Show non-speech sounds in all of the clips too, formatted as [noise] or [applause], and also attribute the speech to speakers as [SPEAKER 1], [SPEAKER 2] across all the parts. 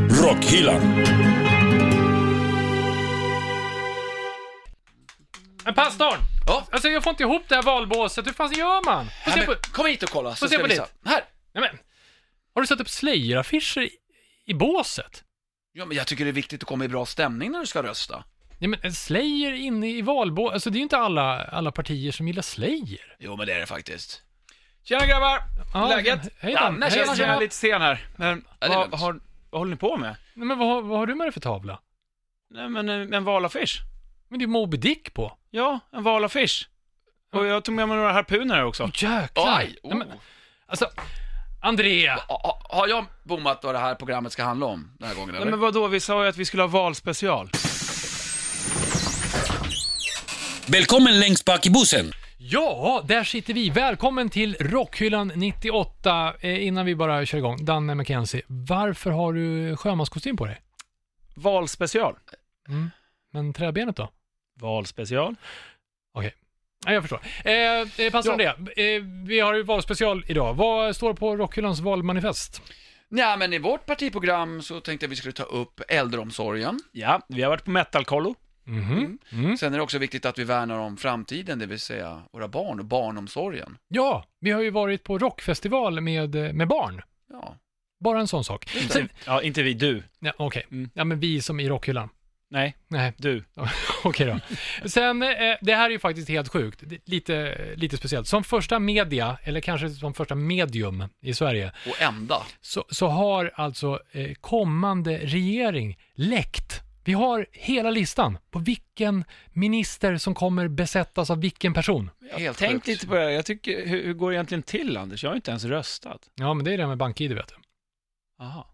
[SPEAKER 1] Rockhyllan.
[SPEAKER 2] Men pastorn!
[SPEAKER 3] Ja.
[SPEAKER 2] Alltså jag får inte ihop det här valbåset. Hur fan gör man? Får se
[SPEAKER 3] Nej,
[SPEAKER 2] på...
[SPEAKER 3] men, kom hit och kolla, så
[SPEAKER 2] Få se
[SPEAKER 3] ska jag
[SPEAKER 2] på
[SPEAKER 3] visa. Här!
[SPEAKER 2] Nej, men. Har du satt upp Slayer-affischer i, i båset?
[SPEAKER 3] Ja, men jag tycker det är viktigt att komma i bra stämning när du ska rösta.
[SPEAKER 2] Nej, men Slayer inne i valbåset. Alltså det är ju inte alla, alla partier som gillar Slayer.
[SPEAKER 3] Jo, men det är det faktiskt.
[SPEAKER 4] Tjena grabbar!
[SPEAKER 2] Ja,
[SPEAKER 4] Läget?
[SPEAKER 2] Hej
[SPEAKER 3] Ja,
[SPEAKER 2] Dan.
[SPEAKER 3] men
[SPEAKER 2] Hej,
[SPEAKER 3] tjena,
[SPEAKER 4] Jag
[SPEAKER 2] Dan.
[SPEAKER 3] tjena.
[SPEAKER 4] är lite sen här, men
[SPEAKER 3] det är
[SPEAKER 4] vad,
[SPEAKER 3] lugnt.
[SPEAKER 4] vad har, vad håller ni på med?
[SPEAKER 2] Nej, men vad, vad har du med dig för tavla?
[SPEAKER 4] Nej men eh, en valaffisch.
[SPEAKER 2] Men det är Moby Dick på.
[SPEAKER 4] Ja, en valaffisch. Och jag tog med mig några harpuner här också.
[SPEAKER 2] Åh jäklar.
[SPEAKER 3] Oj!
[SPEAKER 2] Nej,
[SPEAKER 3] Oh.
[SPEAKER 2] men, alltså, Andrea.
[SPEAKER 3] Ha- ha- Har jag bommat vad det här programmet ska handla om den här gången,
[SPEAKER 4] Nej
[SPEAKER 3] eller?
[SPEAKER 4] men vadå, vi sa ju att vi skulle ha valspecial.
[SPEAKER 1] Välkommen längst bak i bussen.
[SPEAKER 2] Ja, där sitter vi. Välkommen till Rockhyllan 98. Eh, innan vi bara kör igång, Danne McKenzie, varför har du sjömanskostym på dig?
[SPEAKER 4] Valspecial.
[SPEAKER 2] Men träbenet då?
[SPEAKER 4] Valspecial.
[SPEAKER 2] Nej, jag förstår. Eh, eh, Pastor
[SPEAKER 4] Ja.
[SPEAKER 2] Andrea, eh, vi har ju valspecial idag. Vad står på Rockhyllans valmanifest?
[SPEAKER 3] Nej, men i vårt partiprogram så tänkte jag vi skulle ta upp äldreomsorgen.
[SPEAKER 4] Ja, vi har varit på metalkollo.
[SPEAKER 2] Mhm. Mm.
[SPEAKER 3] Sen är det också viktigt att vi värnar om framtiden, det vill säga våra barn och barnomsorgen.
[SPEAKER 2] Ja, vi har ju varit på rockfestival med, eh, med barn.
[SPEAKER 3] Ja.
[SPEAKER 2] Bara en sån sak. Sen-
[SPEAKER 4] Ja, inte vi, du.
[SPEAKER 2] Ja, Okej,
[SPEAKER 4] Mm.
[SPEAKER 2] ja, men vi som i Rockhyllan.
[SPEAKER 4] Nej,
[SPEAKER 2] Nej, [laughs]
[SPEAKER 4] du.
[SPEAKER 2] Okej då. Sen, eh, det här är ju faktiskt helt sjukt. Det- Lite, lite speciellt. Som första media, eller kanske som första medium i Sverige,
[SPEAKER 3] Och enda.
[SPEAKER 2] så, så har alltså eh, kommande regering läckt. Vi har hela listan på vilken minister som kommer besättas av vilken person.
[SPEAKER 3] Helt
[SPEAKER 4] Tänk
[SPEAKER 3] sjukt.
[SPEAKER 4] lite på det här. jag tycker, hur, hur går det egentligen till Anders? Jag har inte ens röstat.
[SPEAKER 2] Ja, men det är det här med BankID, vet du.
[SPEAKER 4] Aha.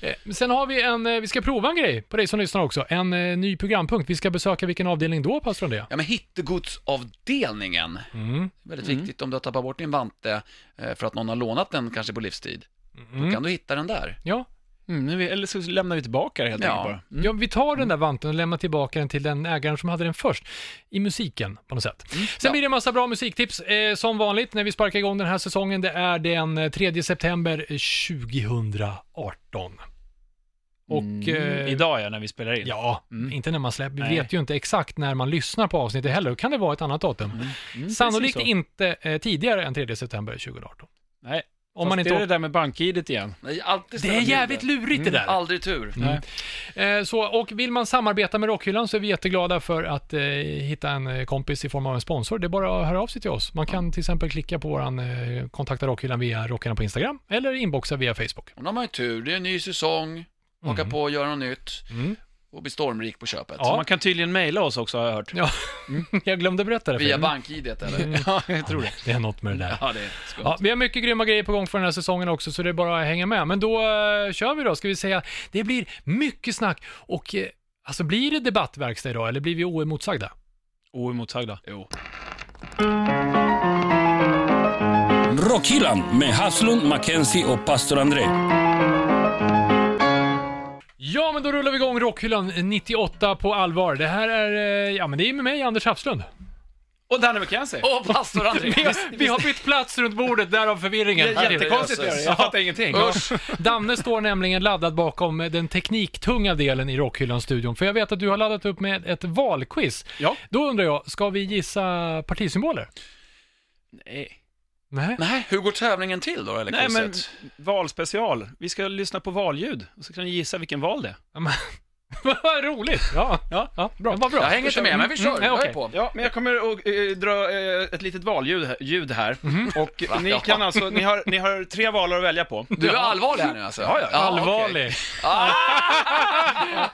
[SPEAKER 2] Eh, sen har vi en, eh, vi ska prova en grej på dig som lyssnar också. En eh, ny programpunkt. Vi ska besöka vilken avdelning då, pastor Andrea?
[SPEAKER 3] Ja, men hittegodsavdelningen.
[SPEAKER 2] Mm.
[SPEAKER 3] Väldigt
[SPEAKER 4] Mm.
[SPEAKER 3] viktigt om du har tappat bort din vante eh, för att någon har lånat den kanske på livstid.
[SPEAKER 2] Mm.
[SPEAKER 3] Kan du hitta den där?
[SPEAKER 2] Ja,
[SPEAKER 4] Mm, nu, eller så lämnar vi tillbaka det helt
[SPEAKER 3] Ja.
[SPEAKER 4] enkelt bara. Mm.
[SPEAKER 2] Ja, vi tar den där vanten och lämnar tillbaka den till den ägaren som hade den först. I musiken, på något sätt.
[SPEAKER 4] Mm.
[SPEAKER 2] Sen
[SPEAKER 3] ja.
[SPEAKER 2] blir det en massa bra musiktips, eh, som vanligt, när vi sparkar igång den här säsongen. Det är den eh, 3 september 2018. Och...
[SPEAKER 4] Mm,
[SPEAKER 2] eh,
[SPEAKER 4] Idag ja, när vi spelar in.
[SPEAKER 2] Ja,
[SPEAKER 4] Mm.
[SPEAKER 2] inte när man släpper. Vi
[SPEAKER 4] Nej.
[SPEAKER 2] vet ju inte exakt när man lyssnar på avsnittet heller. Då kan det vara ett annat datum.
[SPEAKER 4] Mm,
[SPEAKER 2] Sannolikt
[SPEAKER 4] precis så.
[SPEAKER 2] inte eh, tidigare än 3 september 2018.
[SPEAKER 4] Nej,
[SPEAKER 2] Om man inte
[SPEAKER 4] det är det
[SPEAKER 2] åker-
[SPEAKER 4] där Mm. med bank-id igen.
[SPEAKER 3] Nej, alltid
[SPEAKER 2] det
[SPEAKER 3] ställa
[SPEAKER 2] är
[SPEAKER 3] till
[SPEAKER 2] jävligt lurigt det där.
[SPEAKER 3] Aldrig tur.
[SPEAKER 2] Mm.
[SPEAKER 4] Nej.
[SPEAKER 2] Eh, Så, och vill man samarbeta med Rockhyllan så är vi jätteglada för att eh, hitta en eh, kompis i form av en sponsor. Det är bara att höra av sig till oss. Man kan till exempel klicka på våran eh, kontakta Rockhyllan via Rockhyllan på Instagram eller inboxa via Facebook.
[SPEAKER 3] Och nu har man ju tur, det är en ny säsong, haka på och göra något nytt
[SPEAKER 2] Mm.
[SPEAKER 3] och bli stormrik på köpet.
[SPEAKER 2] Ja.
[SPEAKER 4] Så man kan tydligen mejla oss också har jag hört.
[SPEAKER 2] Ja, [laughs] jag glömde berätta det för
[SPEAKER 3] Via
[SPEAKER 2] er.
[SPEAKER 3] bank-id eller?
[SPEAKER 4] Ja, jag tror
[SPEAKER 2] Nej, [laughs] Det är något med det där.
[SPEAKER 3] [laughs] Ja, det är skumt.
[SPEAKER 2] Mm. Ja, vi har mycket grymma grejer på gång för den här säsongen också, så det är bara att hänga med. Men då eh, kör vi då, ska vi säga. Det blir mycket snack och eh, alltså blir det debattverkstad idag eller blir vi oemotsagda?
[SPEAKER 4] Oemotsagda.
[SPEAKER 3] Jo.
[SPEAKER 1] Rockhyllan med Haslund, Mackenzie och pastor André.
[SPEAKER 2] Ja, men då rullar vi igång Rockhyllan 98 på allvar. Det här är, eh, ja men det är med mig, Anders Hafslund.
[SPEAKER 4] Och Danne McKenzie.
[SPEAKER 3] Åh, pastor André!
[SPEAKER 2] Vi [laughs] har, vi har bytt plats runt bordet, därav förvirringen.
[SPEAKER 4] Jättekonstigt är det, jag fattar ingenting.
[SPEAKER 3] Usch!
[SPEAKER 2] Danne står nämligen laddad bakom den tekniktunga delen i Rockhyllan-studion, för jag vet att du har laddat upp med ett valquiz.
[SPEAKER 4] Ja.
[SPEAKER 2] Då undrar jag, ska vi gissa partisymboler?
[SPEAKER 4] Nej.
[SPEAKER 2] Nej.
[SPEAKER 3] Nej, hur går tävlingen till då, eller
[SPEAKER 4] Nej men,
[SPEAKER 3] quizet?
[SPEAKER 4] valspecial. Vi ska lyssna på valljud, och så kan ni gissa vilken val det är.
[SPEAKER 2] Ja, men- [laughs] Vad roligt! Ja,
[SPEAKER 4] Ja.
[SPEAKER 2] ja bra. Det var bra.
[SPEAKER 3] Jag hänger inte med, men vi kör.
[SPEAKER 2] Mm, nej,
[SPEAKER 3] jag
[SPEAKER 2] okej.
[SPEAKER 3] är på.
[SPEAKER 4] Ja, men jag kommer att eh, dra eh, ett litet valljud här. Ljud här. [laughs] Och
[SPEAKER 3] Va?
[SPEAKER 4] ni kan alltså, ni har, ni har tre valar att välja på.
[SPEAKER 3] Du är allvarlig här nu alltså?
[SPEAKER 4] Ja, ja.
[SPEAKER 3] okej.
[SPEAKER 2] Allvarlig.
[SPEAKER 3] Ah,
[SPEAKER 4] [laughs]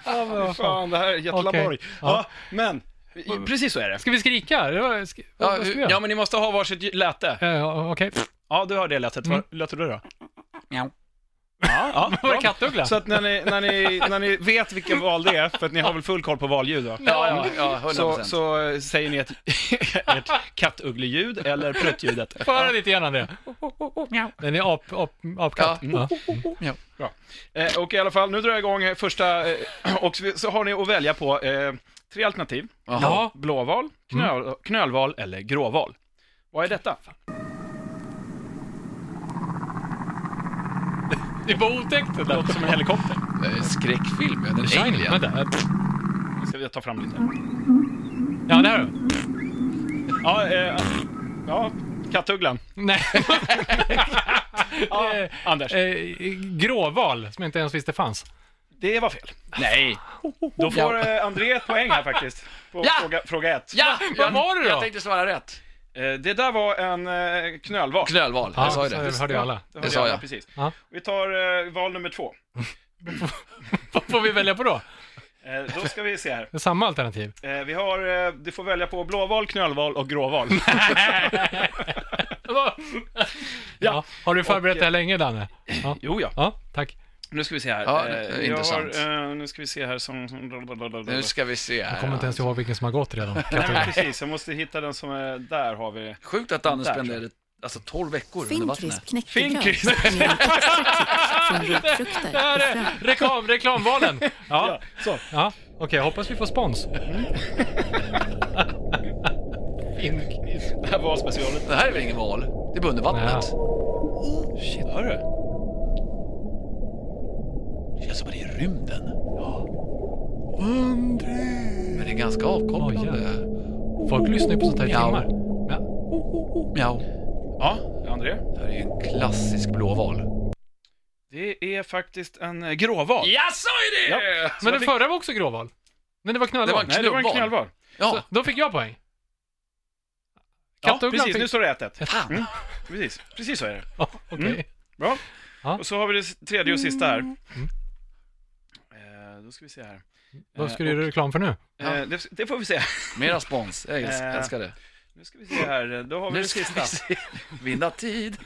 [SPEAKER 2] Ja, men vad fan.
[SPEAKER 4] Fan, det här är Göteborg.
[SPEAKER 2] Okej.
[SPEAKER 4] Ja. men, i- precis så är det.
[SPEAKER 2] Ska vi skrika? Det var- sk-
[SPEAKER 3] Ja,
[SPEAKER 2] Vad ska vi
[SPEAKER 4] Ja,
[SPEAKER 2] göra?
[SPEAKER 4] men ni måste ha varsitt ljud- läte.
[SPEAKER 2] Eh, Okej.
[SPEAKER 4] Ja, du hör det lätet.
[SPEAKER 2] Mm.
[SPEAKER 4] Vad låter du då?
[SPEAKER 3] Mjau.
[SPEAKER 4] Ja,
[SPEAKER 2] Var
[SPEAKER 4] bra.
[SPEAKER 2] det kattuggla?
[SPEAKER 4] Så att när ni, när, ni, när ni vet vilken val det är, för att ni har väl full koll på valljud va?
[SPEAKER 3] ja, ja, ja, 100%.
[SPEAKER 4] Så, så eh, säger ni ett, [laughs] ett kattuggleljud eller pruttljudet.
[SPEAKER 2] Få höra lite grann André. Den är ap, ap, apkatt. Ja.
[SPEAKER 3] Ja.
[SPEAKER 4] Eh, och i alla fall, nu drar jag igång eh, första, eh, och så- så har ni att välja på eh, tre alternativ.
[SPEAKER 3] Jaha.
[SPEAKER 2] Ja.
[SPEAKER 4] Blåval, knöl,
[SPEAKER 2] Mm.
[SPEAKER 4] knölval eller gråval. Vad är detta?
[SPEAKER 2] Det var otäckt det där.
[SPEAKER 4] Låter som en helikopter.
[SPEAKER 3] Eh, Skräckfilm, ja. Den
[SPEAKER 2] Shining,
[SPEAKER 3] Alien.
[SPEAKER 2] vänta. eh,
[SPEAKER 4] Nu Ska vi ta fram lite.
[SPEAKER 2] Ja, det här då.
[SPEAKER 4] Ja, eh, ja kattugglan.
[SPEAKER 2] Nej.
[SPEAKER 4] Ja, Anders.
[SPEAKER 2] eh, gråval, som jag inte ens visste fanns.
[SPEAKER 4] Det var fel.
[SPEAKER 3] Nej.
[SPEAKER 4] Då får eh, André ett poäng här faktiskt. På
[SPEAKER 3] Ja!
[SPEAKER 4] fråga, fråga ett.
[SPEAKER 2] [laughs]
[SPEAKER 3] Ja!
[SPEAKER 2] vad
[SPEAKER 3] jag-
[SPEAKER 2] var det då?
[SPEAKER 3] Jag tänkte svara rätt.
[SPEAKER 4] Eh, det där var en eh, knölval.
[SPEAKER 3] Knölval, jag sa ju det.
[SPEAKER 2] hörde ju alla.
[SPEAKER 4] hörde
[SPEAKER 3] sa
[SPEAKER 4] alla,
[SPEAKER 3] jag.
[SPEAKER 4] Precis.
[SPEAKER 2] Ja.
[SPEAKER 4] Vi tar eh, val nummer två.
[SPEAKER 2] Vad får vi välja på då?
[SPEAKER 4] Eh, då ska vi se här.
[SPEAKER 2] Det är samma alternativ.
[SPEAKER 4] Eh, vi har, eh, du får välja på blåval, knölval
[SPEAKER 3] [laughs]
[SPEAKER 4] och gråval.
[SPEAKER 2] ja. Har du förberett det här länge, Danne? Ja,
[SPEAKER 4] jo, ja.
[SPEAKER 2] ja tack.
[SPEAKER 4] Nu ska vi se här.
[SPEAKER 3] Ja, det
[SPEAKER 4] Eh,
[SPEAKER 3] är
[SPEAKER 4] vi
[SPEAKER 3] intressant.
[SPEAKER 4] Har, eh, nu ska vi se här som...
[SPEAKER 3] Nu ska vi se
[SPEAKER 2] Jag kommer
[SPEAKER 3] här.
[SPEAKER 2] inte ens ihåg vilken som har gått redan.
[SPEAKER 4] Nej, men precis. Jag måste hitta den som är... Där har vi det.
[SPEAKER 3] Sjukt att Anders
[SPEAKER 4] Där.
[SPEAKER 3] spenderade alltså 12 veckor under
[SPEAKER 5] Finkrisp
[SPEAKER 3] vattnet.
[SPEAKER 5] knäckebröd med
[SPEAKER 4] Finkrisp.
[SPEAKER 5] extra från rotfrukter
[SPEAKER 2] Det här
[SPEAKER 5] och frön.
[SPEAKER 2] är reklam, reklamvalen! Ja,
[SPEAKER 4] Så.
[SPEAKER 2] ja. okej, jag hoppas vi får spons. Finkris.
[SPEAKER 4] Det här var specialet.
[SPEAKER 3] Det här är väl ingen val? Det är bara under vattnet.
[SPEAKER 2] Shit.
[SPEAKER 4] Hör du?
[SPEAKER 3] Det känns som att det är i rymden. Ja. Men det är ganska avkopplande.
[SPEAKER 2] Folk lyssnar ju på sånt här i
[SPEAKER 3] Miau.
[SPEAKER 2] timmar. Ja.
[SPEAKER 3] Mjau.
[SPEAKER 4] Ja, André.
[SPEAKER 3] Det här är ju en klassisk blåval.
[SPEAKER 4] Det är faktiskt en eh, gråval.
[SPEAKER 3] Jag sa ju
[SPEAKER 4] Ja. Så
[SPEAKER 2] Men
[SPEAKER 4] jag
[SPEAKER 2] den
[SPEAKER 4] fick-
[SPEAKER 2] förra var också gråval. Nej, det var knölval.
[SPEAKER 3] Det var en
[SPEAKER 4] Nej, det var en
[SPEAKER 3] Knullval.
[SPEAKER 4] knölval.
[SPEAKER 3] Ja,
[SPEAKER 2] Så, då fick jag poäng.
[SPEAKER 4] Ja,
[SPEAKER 2] Kattugglan
[SPEAKER 4] precis.
[SPEAKER 2] fick-
[SPEAKER 4] Nu står det 1-1.
[SPEAKER 3] fan.
[SPEAKER 4] Precis. Precis så är det.
[SPEAKER 2] Ja, okej.
[SPEAKER 4] Mm. Bra.
[SPEAKER 2] Ja.
[SPEAKER 4] Och så har vi det tredje och sista här.
[SPEAKER 2] Mm.
[SPEAKER 4] Eh, Då ska vi se här.
[SPEAKER 2] Vad ska
[SPEAKER 4] Eh,
[SPEAKER 2] du göra reklam för nu?
[SPEAKER 4] Eh, det, det får vi se.
[SPEAKER 3] mera spons. Jag äls-
[SPEAKER 4] Eh,
[SPEAKER 3] älskar det.
[SPEAKER 4] Nu ska vi se här. Då har vi
[SPEAKER 3] Nu
[SPEAKER 4] det
[SPEAKER 3] ska
[SPEAKER 4] sista.
[SPEAKER 2] [laughs]
[SPEAKER 3] vi se. Vinna tid.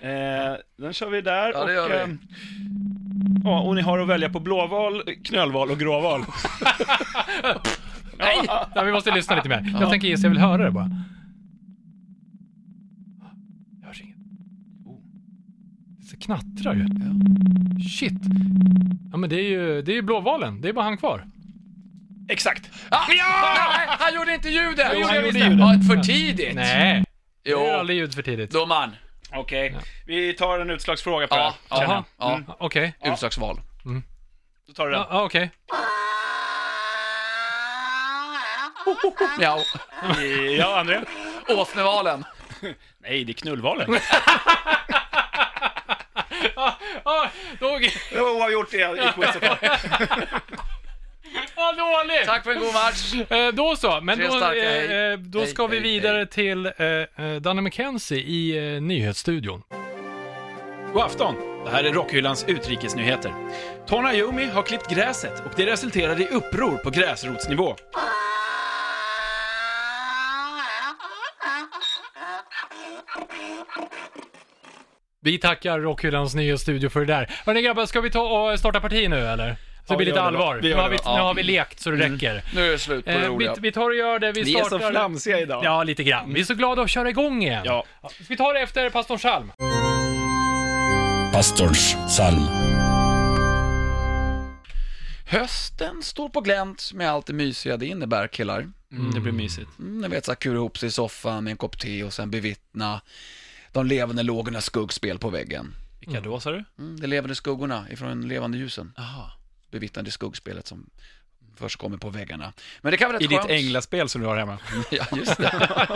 [SPEAKER 4] Eh, den kör vi där.
[SPEAKER 3] Ja, det
[SPEAKER 4] och,
[SPEAKER 3] gör vi.
[SPEAKER 4] ehm, ja, och ni har att välja på blåval, knölval
[SPEAKER 3] [laughs]
[SPEAKER 4] och gråval.
[SPEAKER 3] Nej!
[SPEAKER 2] Nej, vi måste lyssna lite mer. Jag tänker gissa, jag vill höra det bara. Jag hörs inget. Det så knattrar ju. Shit. Ja, men det är ju, det är ju blåvalen. Det är bara han kvar.
[SPEAKER 4] Exakt.
[SPEAKER 3] Ah, nej, han gjorde inte ljudet!
[SPEAKER 2] Jo, han
[SPEAKER 3] han
[SPEAKER 2] gjorde
[SPEAKER 3] gjorde
[SPEAKER 2] ljudet.
[SPEAKER 3] Ja, för tidigt.
[SPEAKER 2] Nej, det är
[SPEAKER 3] Jo,
[SPEAKER 2] aldrig ljud för tidigt.
[SPEAKER 3] domaren.
[SPEAKER 4] Okej, vi tar en utslagsfråga på det
[SPEAKER 3] Ja,
[SPEAKER 4] här. känner
[SPEAKER 3] ja,
[SPEAKER 4] jag.
[SPEAKER 3] ja.
[SPEAKER 2] Ja, Okej.
[SPEAKER 3] Utslagsval.
[SPEAKER 4] Då tar du den.
[SPEAKER 2] Ja, ja, okej.
[SPEAKER 3] Mjau.
[SPEAKER 4] Ja, André.
[SPEAKER 3] Åsnevalen.
[SPEAKER 4] Nej, det är knullvalen.
[SPEAKER 3] [laughs]
[SPEAKER 2] Ah, Ja, då...
[SPEAKER 4] det var oavgjort i, i quizet.
[SPEAKER 3] [laughs]
[SPEAKER 2] Ja, dåligt!
[SPEAKER 3] Tack för en god match.
[SPEAKER 2] Eh, då så, men
[SPEAKER 3] Tre
[SPEAKER 2] då,
[SPEAKER 3] starka,
[SPEAKER 2] eh,
[SPEAKER 3] hej.
[SPEAKER 2] eh, då
[SPEAKER 3] Hej,
[SPEAKER 2] ska vi
[SPEAKER 3] hej,
[SPEAKER 2] vidare
[SPEAKER 3] hej.
[SPEAKER 2] till eh, eh, Danne McKenzie i eh, nyhetsstudion.
[SPEAKER 4] God afton! Det här är Rockhyllans utrikesnyheter. Tona Yumi har klippt gräset och det resulterade i uppror på gräsrotsnivå.
[SPEAKER 2] Vi tackar Rockhyllans nyhetsstudio för det där. Hörni grabbar, ska vi ta och eh, starta parti nu eller? Så
[SPEAKER 4] Ja,
[SPEAKER 2] det blir
[SPEAKER 4] vi
[SPEAKER 2] lite
[SPEAKER 4] gör det då.
[SPEAKER 2] allvar.
[SPEAKER 4] Vi
[SPEAKER 2] Nu
[SPEAKER 4] gör
[SPEAKER 2] har
[SPEAKER 4] det
[SPEAKER 2] vi,
[SPEAKER 4] då. Mm.
[SPEAKER 2] nu har vi lekt så det räcker.
[SPEAKER 3] Nu är det slut på det
[SPEAKER 2] Eh, vi,
[SPEAKER 3] roliga.
[SPEAKER 2] vi tar och gör det, vi
[SPEAKER 4] Ni är så
[SPEAKER 2] startar...
[SPEAKER 4] flamsiga idag.
[SPEAKER 2] Ja, lite grann. Vi är så glada att köra igång igen.
[SPEAKER 4] Ja.
[SPEAKER 2] Ska vi ta det efter pastor Salm?
[SPEAKER 1] Pastorns psalm.
[SPEAKER 3] Hösten står på glänt med allt det mysiga det innebär killar.
[SPEAKER 4] Det blir mysigt.
[SPEAKER 3] Mm, ni vet så här, kura ihop sig i soffan med en kopp te och sen bevittna de levande lågornas skuggspel på väggen.
[SPEAKER 4] Vilka då, sa du?
[SPEAKER 3] Mm, de levande skuggorna ifrån levande ljusen.
[SPEAKER 4] Aha.
[SPEAKER 3] Bevittna det skuggspelet som först kommer på väggarna. Men det kan vara rätt
[SPEAKER 4] I ditt
[SPEAKER 3] skönt.
[SPEAKER 4] änglaspel som du har hemma.
[SPEAKER 3] [laughs] Ja,
[SPEAKER 4] [laughs]
[SPEAKER 3] just det.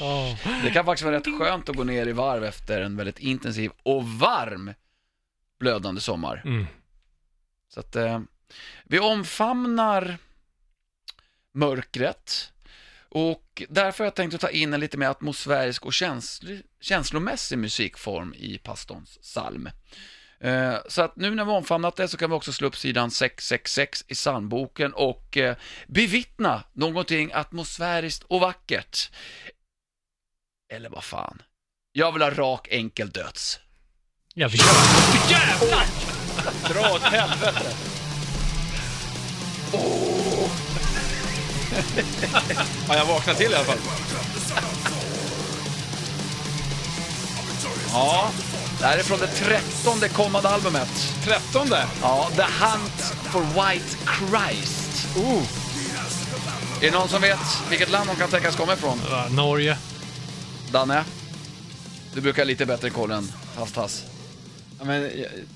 [SPEAKER 2] Ja.
[SPEAKER 3] Det kan faktiskt vara rätt skönt att gå ner i varv efter en väldigt intensiv och varm blödande sommar.
[SPEAKER 2] Mm.
[SPEAKER 3] Så att eh, vi omfamnar mörkret och därför har jag tänkt att ta in en lite mer atmosfärisk och känsl- känslomässig musikform i pastorns psalm. Eh, Så att nu när vi omfamnat det så kan vi också slå upp sidan 666 i psalmboken och eh, bevittna någonting atmosfäriskt och vackert. Eller vad fan. Jag vill ha rak enkel döds.
[SPEAKER 2] Ja, vi kör.
[SPEAKER 4] Dra åt helvete. ja, jag vaknade till i alla fall.
[SPEAKER 3] Ja, det här är från det trettonde kommande albumet.
[SPEAKER 4] Trettonde.
[SPEAKER 3] Ja, The Hunt for White Christ.
[SPEAKER 4] Oh.
[SPEAKER 3] Är det någon som vet vilket land de kan tänkas komma ifrån?
[SPEAKER 2] Va, Norge.
[SPEAKER 3] Danne? Du brukar ha lite bättre koll än Tass, tass.
[SPEAKER 4] Ja, men jag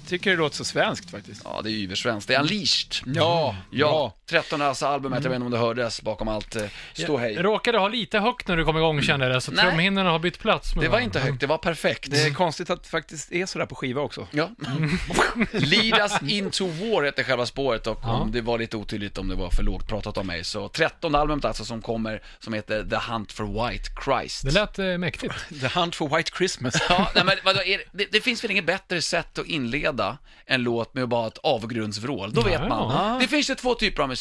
[SPEAKER 4] tycker det låter så svenskt faktiskt.
[SPEAKER 3] Ja, det är yversvenskt. Det är unleashed.
[SPEAKER 4] Ja,
[SPEAKER 3] Ja,
[SPEAKER 4] ja.
[SPEAKER 3] 13 albumet, jag vet inte om det hördes bakom allt eh, ståhej.
[SPEAKER 2] Jag råkade ha lite högt när du kom igång kände jag det, så
[SPEAKER 3] Nej.
[SPEAKER 2] trumhinnorna har bytt plats. Mm. med
[SPEAKER 3] Det var
[SPEAKER 2] varandra.
[SPEAKER 3] inte högt, det var perfekt.
[SPEAKER 4] Det är konstigt att det faktiskt är sådär på skiva också.
[SPEAKER 3] Ja. [laughs] Lead us into war heter själva spåret och om det var lite otydligt om det var för lågt pratat av mig så 13 albumet alltså som kommer som heter The Hunt for White Christ.
[SPEAKER 2] Det lät eh, mäktigt.
[SPEAKER 4] The Hunt for White Christmas.
[SPEAKER 3] Ja, nej, men vadå, är det, det, det finns väl inget bättre sätt att inleda en låt med bara ett avgrundsvrål, då vet
[SPEAKER 2] Ja. Mm.
[SPEAKER 3] man. Det finns det två typer av musik.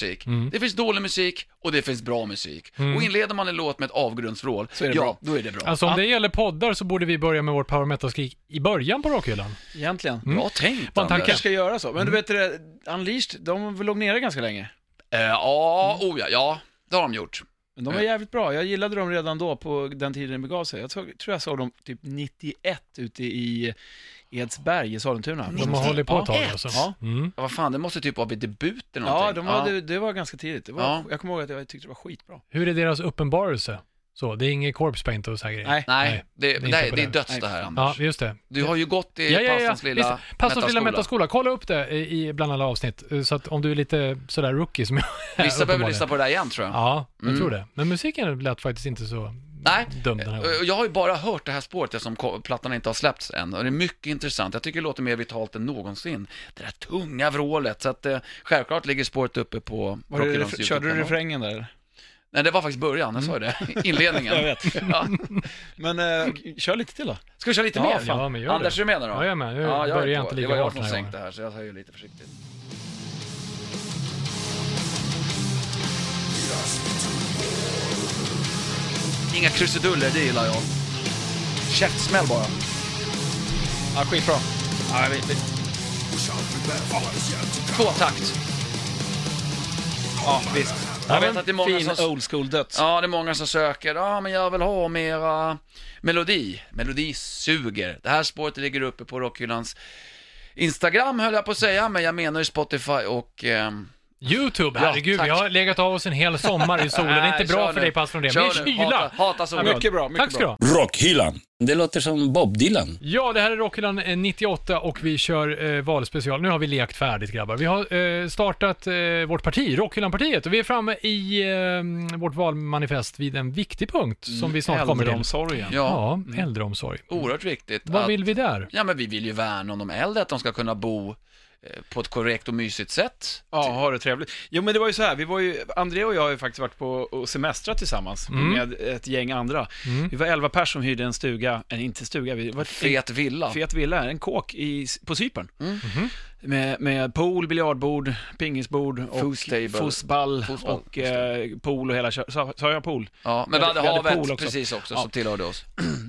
[SPEAKER 3] Det finns dålig musik och det finns bra musik. Och inleder man en låt med ett avgrundsvrål,
[SPEAKER 4] är det
[SPEAKER 3] ja,
[SPEAKER 4] bra.
[SPEAKER 3] då är det bra.
[SPEAKER 2] Alltså om det gäller poddar så borde vi börja med vårt power metal-skrik i början på rockhyllan.
[SPEAKER 4] Egentligen.
[SPEAKER 3] Bra tänkt,
[SPEAKER 2] Vad en
[SPEAKER 3] Anders.
[SPEAKER 2] tanke.
[SPEAKER 4] kanske ska göra så. Men du vet det, där, Unleashed, de låg nere ganska länge.
[SPEAKER 3] Eh, Ja,
[SPEAKER 2] Mm.
[SPEAKER 3] oh ja, ja, det har de gjort.
[SPEAKER 4] Men de var jävligt bra. Jag gillade dem redan då, på den tiden det begav sig. Jag tror tror jag såg dem typ 91 ute i Edsberg i Sollentuna.
[SPEAKER 2] De har hållit på ett tag alltså.
[SPEAKER 4] Ja.
[SPEAKER 2] Mm.
[SPEAKER 3] Ja, Vad fan, det måste typ vara vid debut eller någonting.
[SPEAKER 4] Ja, de var, Det, det var ganska tidigt. Det var,
[SPEAKER 3] Ja.
[SPEAKER 4] Jag kommer ihåg att jag tyckte det var skitbra.
[SPEAKER 2] Hur är deras uppenbarelse? Så, det är inget corpse paint och så här grejer.
[SPEAKER 4] Nej.
[SPEAKER 3] Nej,
[SPEAKER 2] Nej,
[SPEAKER 3] det,
[SPEAKER 2] är
[SPEAKER 3] det,
[SPEAKER 2] inte
[SPEAKER 3] nej,
[SPEAKER 2] på
[SPEAKER 3] det är
[SPEAKER 2] det.
[SPEAKER 3] döds
[SPEAKER 4] Nej.
[SPEAKER 3] det här
[SPEAKER 2] Ja,
[SPEAKER 3] Anders.
[SPEAKER 2] just det.
[SPEAKER 3] Du har ju gått i Pastons lilla
[SPEAKER 2] Visst, Pastons lilla metaskola. Kolla upp det eh, i bland alla avsnitt. eh, Så att om du är lite sådär rookie som jag är,
[SPEAKER 3] Vissa behöver
[SPEAKER 2] uppenbarligen.
[SPEAKER 3] lyssna på det där igen tror jag.
[SPEAKER 2] Ja, jag
[SPEAKER 3] Mm.
[SPEAKER 2] tror det. Men musiken lät faktiskt inte så
[SPEAKER 3] Nej,
[SPEAKER 2] dum den här gången.
[SPEAKER 3] Och Jag har ju bara hört det här spåret eftersom ko- plattan inte har släppts än och det är mycket intressant. Jag tycker det låter mer vitalt än någonsin. Det där tunga vrålet. Så att eh, självklart ligger spåret uppe på
[SPEAKER 4] Var det,
[SPEAKER 3] Rockhyllans
[SPEAKER 4] ref- körde du
[SPEAKER 3] YouTube-kanal.
[SPEAKER 4] refrängen där eller?
[SPEAKER 3] Nej, det var faktiskt början. Jag sa ju det.
[SPEAKER 2] Mm. [laughs]
[SPEAKER 3] [laughs] Inledningen.
[SPEAKER 4] Jag vet.
[SPEAKER 3] Ja.
[SPEAKER 4] Men eh, kör lite till då.
[SPEAKER 3] Ska vi köra lite
[SPEAKER 4] Ja,
[SPEAKER 3] mer?
[SPEAKER 2] fan. Ja, men gör det.
[SPEAKER 3] Anders, är du med nu då?
[SPEAKER 2] Ja, jag är med. Jag
[SPEAKER 3] är
[SPEAKER 2] börjar
[SPEAKER 3] på.
[SPEAKER 2] inte
[SPEAKER 3] Det
[SPEAKER 2] lika
[SPEAKER 3] var jag
[SPEAKER 2] hårt
[SPEAKER 3] som
[SPEAKER 2] den här
[SPEAKER 3] sänkte
[SPEAKER 2] gången.
[SPEAKER 3] här, så jag tar ju lite försiktigt. Inga krusiduller, det gillar jag. Käftsmäll bara.
[SPEAKER 4] Ja, skitbra. Ja, jag vet.
[SPEAKER 3] Tvåtakt.
[SPEAKER 4] Ja, visst.
[SPEAKER 3] Jag vet att det är många
[SPEAKER 4] fin
[SPEAKER 3] som...
[SPEAKER 4] old school döds.
[SPEAKER 3] Ja, det är många som söker. Ja, men jag vill ha mera melodi. Melodi suger. Det här spåret ligger uppe på Rockhyllans Instagram, höll jag på att säga, men jag menar ju Spotify och... ehm,
[SPEAKER 2] YouTube,
[SPEAKER 3] Ja,
[SPEAKER 2] herregud.
[SPEAKER 3] tack.
[SPEAKER 2] vi har legat av oss en hel sommar i solen. Det är
[SPEAKER 3] [laughs] Nej,
[SPEAKER 2] inte bra
[SPEAKER 3] kör
[SPEAKER 2] för
[SPEAKER 3] nu.
[SPEAKER 2] dig Pass från det.
[SPEAKER 3] Kör
[SPEAKER 2] Mer
[SPEAKER 3] nu.
[SPEAKER 2] kyla.
[SPEAKER 3] Hata, hata solen.
[SPEAKER 4] mycket bra, mycket
[SPEAKER 2] Tack ska du
[SPEAKER 4] bra.
[SPEAKER 2] ha.
[SPEAKER 1] Rockhyllan. Det låter som Bob Dylan.
[SPEAKER 2] Ja, det här är Rockhyllan eh, 98 och vi kör eh, valspecial. Nu har vi lekt färdigt grabbar. Vi har eh, startat eh, vårt parti, Rockhyllan-partiet, och vi är framme i eh, vårt valmanifest vid en viktig punkt som vi snart kommer till.
[SPEAKER 4] Äldreomsorgen.
[SPEAKER 3] Mm, Ja,
[SPEAKER 2] Ja, äldreomsorg.
[SPEAKER 3] oerhört viktigt.
[SPEAKER 2] Vad
[SPEAKER 3] att-
[SPEAKER 2] vill vi där?
[SPEAKER 3] Ja, men vi vill ju värna om de äldre, att de ska kunna bo eh, på ett korrekt och mysigt sätt.
[SPEAKER 4] Ja, ha det trevligt. Jo men det var ju så här, vi var ju, André och jag har ju faktiskt varit på och semestrat tillsammans med ett gäng andra. Vi var 11 personer som hyrde en stuga, en inte stuga, vi var
[SPEAKER 3] Fet villa.
[SPEAKER 4] en fet villa, en kåk i, på Cypern. Med, med pool, biljardbord, pingisbord och
[SPEAKER 3] Foos table.
[SPEAKER 4] fotboll
[SPEAKER 3] Fotboll,
[SPEAKER 4] och eh, pool och hela kö- sa, sa jag pool?
[SPEAKER 3] Ja, men
[SPEAKER 4] Vi
[SPEAKER 3] vi
[SPEAKER 4] hade-
[SPEAKER 3] hade
[SPEAKER 4] vi hade
[SPEAKER 3] havet
[SPEAKER 4] pool också.
[SPEAKER 3] precis också
[SPEAKER 4] Ja.
[SPEAKER 3] som tillhörde oss.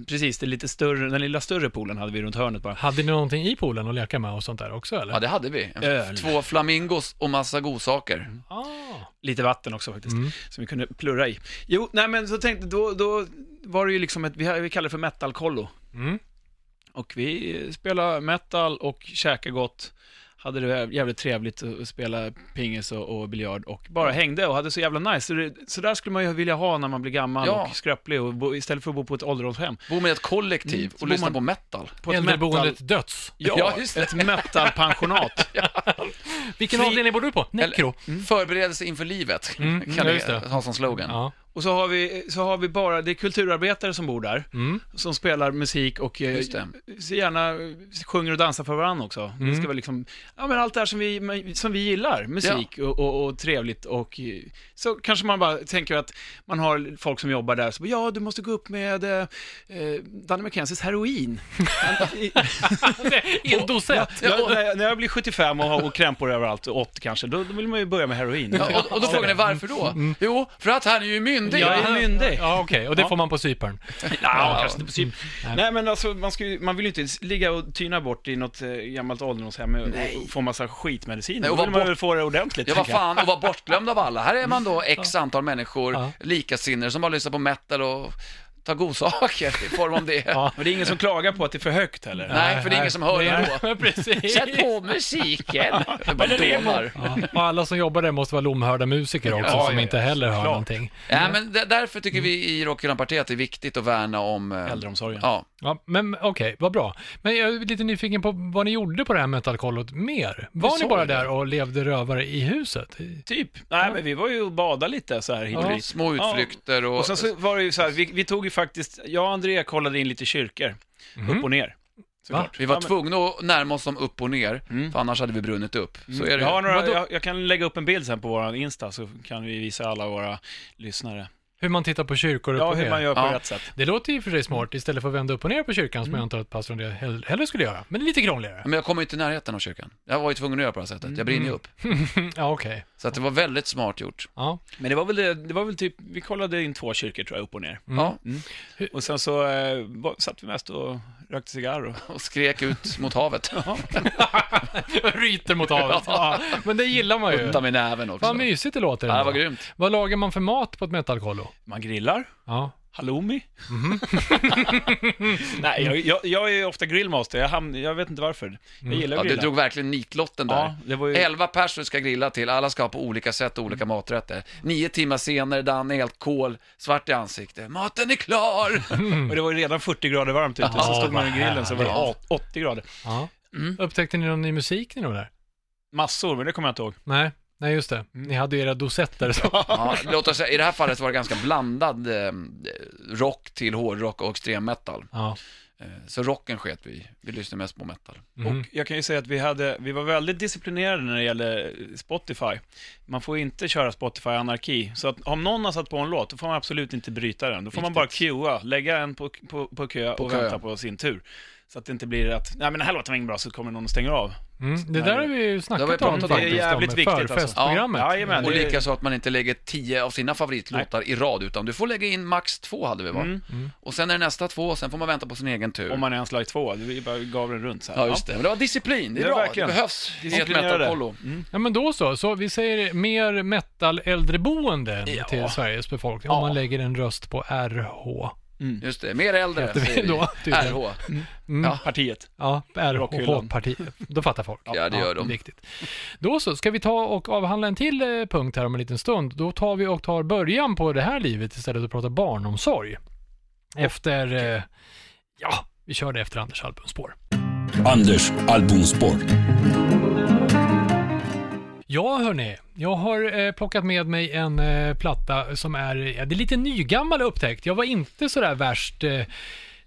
[SPEAKER 4] Precis, det lite större, den lilla större poolen hade vi runt hörnet bara.
[SPEAKER 2] Hade ni någonting i poolen att leka med och sånt där också eller?
[SPEAKER 3] Ja, det hade vi. En-
[SPEAKER 4] Öl.
[SPEAKER 3] Två flamingos och massa godsaker.
[SPEAKER 2] ah.
[SPEAKER 4] lite vatten också faktiskt, som vi kunde plurra i. Jo, nej men så tänkte då, då var det ju liksom ett, vi, har- vi kallar det för metal-kollo.
[SPEAKER 2] Mm.
[SPEAKER 4] Och vi spelade metal och käkade gott, hade det jävligt trevligt och spelade pingis och, och biljard och bara hängde och hade så jävla nice. Så, det, så där skulle man ju vilja ha när man blir gammal
[SPEAKER 3] Ja.
[SPEAKER 4] och skröplig och bo, istället för att bo på ett ålderdomshem.
[SPEAKER 3] Bo med ett kollektiv
[SPEAKER 4] Mm, så
[SPEAKER 3] och
[SPEAKER 4] bor
[SPEAKER 3] lyssna
[SPEAKER 4] man-
[SPEAKER 3] på metal.
[SPEAKER 4] På ett metal,
[SPEAKER 2] Äldreboendet Döds.
[SPEAKER 4] ja,
[SPEAKER 3] [laughs] Ja, just det.
[SPEAKER 4] ett
[SPEAKER 3] [laughs]
[SPEAKER 4] metalpensionat.
[SPEAKER 2] Vilken
[SPEAKER 4] Fri-
[SPEAKER 2] avdelning bor du på?
[SPEAKER 3] Eller-
[SPEAKER 2] Nekro.
[SPEAKER 3] Förberedelse inför livet
[SPEAKER 2] Mm,
[SPEAKER 3] kan
[SPEAKER 2] ja,
[SPEAKER 3] vi
[SPEAKER 2] just det.
[SPEAKER 3] ha som slogan.
[SPEAKER 2] Ja.
[SPEAKER 4] Och så har, vi, så har vi bara, det är kulturarbetare som bor där,
[SPEAKER 3] [laughs]
[SPEAKER 2] Mm.
[SPEAKER 4] som spelar musik och eh,
[SPEAKER 3] Just det.
[SPEAKER 4] så gärna eh, sjunger och dansar för varandra också. Det ska vara liksom, ja men allt det här som vi, som vi gillar, musik och, och, och trevligt och eh, så kanske man bara tänker att man har folk som jobbar där, så bara, ja du måste gå upp med eh, eh, Danny McKenzies heroin.
[SPEAKER 2] I en dosett.
[SPEAKER 4] jag, när, jag, när jag blir 75 och har och krämpor överallt och 80 kanske, då, då vill man ju börja med heroin.
[SPEAKER 3] Ja, och, och då frågar ni varför då? Jo, för att han är ju myndig.
[SPEAKER 4] Jag är myndig.
[SPEAKER 2] Mm. Ja, okej. Och det
[SPEAKER 4] Ja.
[SPEAKER 2] får man på Cypern.
[SPEAKER 4] Ja, kanske inte på Cypern.
[SPEAKER 3] Mm.
[SPEAKER 4] Nej men alltså, man, ska ju, man vill ju inte s- ligga och tyna bort i något eh, gammalt ålderdomshem och, och få massa skitmedicin.
[SPEAKER 3] Nej, och
[SPEAKER 4] då
[SPEAKER 3] vara
[SPEAKER 4] vill man
[SPEAKER 3] bort-
[SPEAKER 4] väl få det ordentligt.
[SPEAKER 3] Jag var
[SPEAKER 4] tänker jag.
[SPEAKER 3] fan och var bortglömd av alla. Här är man då x antal människor,
[SPEAKER 2] Mm. Ja.
[SPEAKER 3] likasinnade, som bara lyssnar på metal och tar godsaker i form av det.
[SPEAKER 4] Men det är ingen som klagar på att det är för högt heller.
[SPEAKER 3] Nej, för det är ingen som hör
[SPEAKER 2] [laughs]
[SPEAKER 3] det ändå.
[SPEAKER 2] Nej, precis.
[SPEAKER 3] Sätt
[SPEAKER 2] [laughs]
[SPEAKER 3] på musiken! Det bara dånar.
[SPEAKER 2] Ja, och alla som jobbar där måste vara lomhörda musiker också,
[SPEAKER 4] Ja,
[SPEAKER 2] som
[SPEAKER 4] ja,
[SPEAKER 2] inte
[SPEAKER 4] ja,
[SPEAKER 2] heller hör
[SPEAKER 4] såklart.
[SPEAKER 2] någonting.
[SPEAKER 3] Ja, men där- därför tycker vi i Rockhyllan-partiet att det är viktigt att värna om... eh,
[SPEAKER 4] Äldreomsorgen.
[SPEAKER 3] Ja,
[SPEAKER 2] Ja, men okej, vad bra. Men jag är lite nyfiken på vad ni gjorde på det här metalkollot mer. Var
[SPEAKER 4] sa
[SPEAKER 2] ni bara
[SPEAKER 4] det.
[SPEAKER 2] där och levde rövare i huset?
[SPEAKER 4] Typ. Nej, men vi var ju och badade lite så här hit och
[SPEAKER 3] Ja.
[SPEAKER 4] dit.
[SPEAKER 3] Små utflykter och...
[SPEAKER 4] Och sen så var det ju så här, vi, vi tog ju faktiskt, jag och André kollade in lite kyrkor,
[SPEAKER 3] Mhm.
[SPEAKER 4] upp och ner. Såklart.
[SPEAKER 3] Vi var
[SPEAKER 4] Ja, men- Mm.
[SPEAKER 3] tvungna att närma oss dem upp och ner, för annars hade vi brunnit upp. Så är det
[SPEAKER 4] Jag, har några,
[SPEAKER 2] Vadå?
[SPEAKER 4] jag, jag kan lägga upp en bild sen på våran Insta så kan vi visa alla våra lyssnare.
[SPEAKER 2] Hur man tittar på kyrkor upp
[SPEAKER 4] Ja,
[SPEAKER 2] och
[SPEAKER 4] hur
[SPEAKER 2] ner?
[SPEAKER 4] man gör på
[SPEAKER 3] Ja.
[SPEAKER 4] rätt sätt.
[SPEAKER 2] Det låter ju för sig smart istället för att vända upp och ner på kyrkan
[SPEAKER 4] Mm.
[SPEAKER 2] som jag antar att pastorn det hell- hellre skulle göra. Men det är lite krångligare.
[SPEAKER 3] Men jag kommer ju inte i närheten av kyrkan. Jag var ju tvungen att göra på det här sättet. Jag
[SPEAKER 4] Mm.
[SPEAKER 3] brinner ju upp.
[SPEAKER 2] ja, okej.
[SPEAKER 3] Så att det var väldigt smart gjort.
[SPEAKER 2] Ja.
[SPEAKER 4] Men det var väl, det, det var väl typ, vi kollade in två kyrkor tror jag, upp och ner.
[SPEAKER 3] Ja,
[SPEAKER 4] Och sen så eh, var- satt vi mest och rökte cigarr och...
[SPEAKER 3] och skrek ut mot
[SPEAKER 4] [laughs]
[SPEAKER 3] havet.
[SPEAKER 2] Ryter mot havet. ja. Men det gillar man ju.
[SPEAKER 3] Utta med näven också.
[SPEAKER 2] Vad mysigt det låter.
[SPEAKER 3] Ja,
[SPEAKER 2] ändå.
[SPEAKER 3] vad grymt.
[SPEAKER 2] Vad lagar man för mat på ett metalkollo?
[SPEAKER 4] Man grillar.
[SPEAKER 2] Ja.
[SPEAKER 4] Halloumi? [laughs] Nej, jag, jag, jag är ofta grillmaster. Jag, hamn, jag vet inte varför. Jag
[SPEAKER 2] Mm.
[SPEAKER 4] gillar
[SPEAKER 3] Ja,
[SPEAKER 4] att
[SPEAKER 3] du
[SPEAKER 4] grilla.
[SPEAKER 3] drog verkligen nitlotten där.
[SPEAKER 4] Ja, det var ju-
[SPEAKER 3] Elva personer ska grilla till, alla ska ha på olika sätt och
[SPEAKER 4] Mm.
[SPEAKER 3] olika maträtter. Nio timmar senare, Dan är helt kol, svart i ansiktet. Maten är
[SPEAKER 4] [laughs]
[SPEAKER 3] klar!
[SPEAKER 2] Mm.
[SPEAKER 4] Och det var ju redan 40 grader varmt ute, så
[SPEAKER 2] Ja,
[SPEAKER 4] stod man i
[SPEAKER 2] vad
[SPEAKER 4] grillen så var det
[SPEAKER 3] härligt.
[SPEAKER 4] åt- 80 grader.
[SPEAKER 2] ja.
[SPEAKER 4] Mm.
[SPEAKER 2] Upptäckte ni någon ny musik när ni var där?
[SPEAKER 4] Massor, men det kommer jag inte ihåg.
[SPEAKER 2] Nej, nej just det.
[SPEAKER 4] Mm.
[SPEAKER 2] Ni hade ju era dosetter. Så.
[SPEAKER 3] Ja, låt oss säga, i det här fallet var det ganska blandad eh, rock till hårdrock och extrem metal.
[SPEAKER 2] Ja.
[SPEAKER 3] Eh, Så rocken sket vi Vi lyssnade mest på metal.
[SPEAKER 2] Mhm.
[SPEAKER 4] Och jag kan ju säga att vi, hade, vi var väldigt disciplinerade när det gäller Spotify. Man får ju inte köra Spotify-anarki. Så att om någon har satt på en låt, då får man absolut inte bryta den. Då får man bara queua, lägga en på, på, på kö och
[SPEAKER 3] kö.
[SPEAKER 4] vänta på sin tur. Så att det inte blir att, nej men den här låten var ingen bra, så kommer någon och stänger av.
[SPEAKER 2] Mm. Det där har vi ju
[SPEAKER 3] Det har vi
[SPEAKER 2] snackat om
[SPEAKER 3] pratat om.
[SPEAKER 2] faktiskt.
[SPEAKER 4] Det är jävligt
[SPEAKER 2] om
[SPEAKER 4] viktigt, alltså.
[SPEAKER 2] förfestprogrammet.
[SPEAKER 4] Ja, jajamän.
[SPEAKER 3] Och
[SPEAKER 4] det-
[SPEAKER 3] likaså att man inte lägger tio av sina favoritlåtar i rad, utan du får lägga in max två hade vi va?
[SPEAKER 4] Mm.
[SPEAKER 3] Och sen är det nästa två, och sen får man vänta på sin egen tur.
[SPEAKER 4] Om man är ens lag två, vi bara gav den runt så här.
[SPEAKER 3] Ja, just det. Men det var disciplin, det är
[SPEAKER 4] Det är
[SPEAKER 3] bra.
[SPEAKER 4] verkligen.
[SPEAKER 3] Det behövs i ett
[SPEAKER 4] Disciplinerade. Mm.
[SPEAKER 3] metalkollo.
[SPEAKER 2] Ja men då så, så vi säger mer metal äldreboende
[SPEAKER 4] Ja.
[SPEAKER 2] till Sveriges befolkning om
[SPEAKER 4] Ja.
[SPEAKER 2] man lägger en röst på RH.
[SPEAKER 3] Just det, mer äldre
[SPEAKER 2] vi
[SPEAKER 3] säger vi.
[SPEAKER 2] då, Typ. tydligen.
[SPEAKER 3] RH.
[SPEAKER 2] Mm.
[SPEAKER 3] Ja.
[SPEAKER 4] Partiet.
[SPEAKER 2] Ja,
[SPEAKER 4] Rockhyllan.
[SPEAKER 2] RHH-parti. Då fattar
[SPEAKER 4] [laughs]
[SPEAKER 2] folk.
[SPEAKER 3] Ja, det gör de.
[SPEAKER 2] Viktigt. Då så, ska vi ta och avhandla en till eh, punkt här om en liten stund. Då tar vi och tar början på det här livet istället och pratar barnomsorg. Efter, eh, ja, vi kör det efter Anders albumspår.
[SPEAKER 1] Anders albumspår.
[SPEAKER 2] Ja, hörni. Jag har eh, plockat med mig en eh, platta som är, ja, det är lite nygammal upptäckt. Jag var inte sådär värst eh,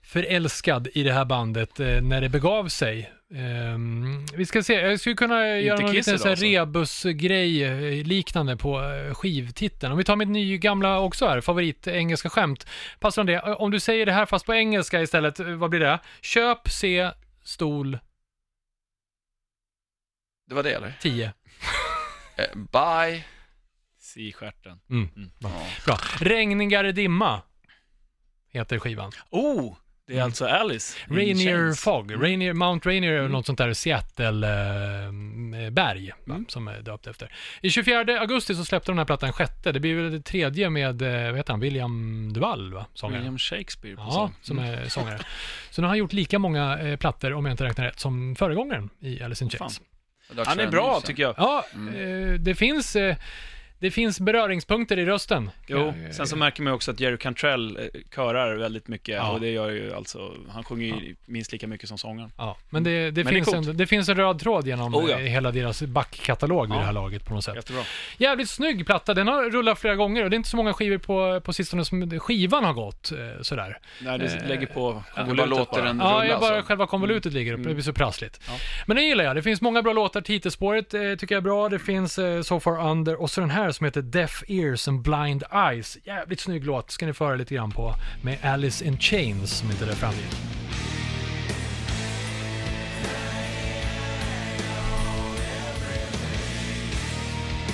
[SPEAKER 2] förälskad i det här bandet eh, när det begav sig. Ehm, vi ska se, jag skulle kunna göra någon
[SPEAKER 4] Kiss
[SPEAKER 2] liten
[SPEAKER 4] idag,
[SPEAKER 2] sån här
[SPEAKER 4] alltså?
[SPEAKER 2] rebusgrej eh, liknande på eh, skivtiteln. Om vi tar mitt nygamla också här, favorit eh, engelska skämt. Passar det? Eh, Om du säger det här fast på engelska istället, eh, vad blir det? Köp, se, stol,
[SPEAKER 3] Det var det eller?
[SPEAKER 2] 10.
[SPEAKER 3] Eh, bye.
[SPEAKER 4] C-stjärten.
[SPEAKER 2] Mm. Bra. Regningar i dimma heter skivan.
[SPEAKER 4] Oh! Det Mm. är alltså Alice. in
[SPEAKER 2] Rainier
[SPEAKER 4] Chains.
[SPEAKER 2] Fog, Rainier, Mount Rainier är något sånt där Seattle-berg
[SPEAKER 4] Mm.
[SPEAKER 2] som är döpt efter. I 24 augusti så släppte de den här plattan sjätte. Det blir väl det tredje med, eh, vad heter han, William Duvall, va? Sångaren.
[SPEAKER 4] William Mm. Shakespeare på
[SPEAKER 2] Ja,
[SPEAKER 4] sång.
[SPEAKER 2] som är sångare. Så nu har han gjort lika många eh, plattor, om jag inte räknar rätt, som föregångaren i Alice in Chains.
[SPEAKER 4] Han är bra tycker jag.
[SPEAKER 2] Ja, eh, det finns... eh, Det finns beröringspunkter i rösten.
[SPEAKER 4] Jo, sen så märker man ju också att Jerry Cantrell eh, körar väldigt mycket
[SPEAKER 2] Ja.
[SPEAKER 4] och det gör ju alltså, han sjunger ju minst lika mycket som sångaren.
[SPEAKER 2] Ja, men det, det,
[SPEAKER 4] Men det är
[SPEAKER 2] finns,
[SPEAKER 4] coolt.
[SPEAKER 2] en, det finns en röd tråd genom
[SPEAKER 4] Oh ja.
[SPEAKER 2] eh, hela deras backkatalog vid det här laget på något sätt.
[SPEAKER 4] Jättebra.
[SPEAKER 2] Jävligt snygg platta, den har rullat flera gånger och det är inte så många skivor på, på sistone som skivan har gått eh, sådär.
[SPEAKER 4] Nej, du lägger på
[SPEAKER 3] Du bara låter den
[SPEAKER 2] Ja,
[SPEAKER 3] rulla
[SPEAKER 2] jag bara
[SPEAKER 3] alltså.
[SPEAKER 2] själva konvolutet ligger
[SPEAKER 4] Mm.
[SPEAKER 2] uppe, det blir så prassligt. Men det gillar jag, det finns många bra låtar, titelspåret eh, tycker jag är bra, det finns eh, So Far Under och så den här som heter Deaf Ears and Blind Eyes. Jävligt snygg låt, ska ni föra lite grann på med Alice in Chains som inte det framgick.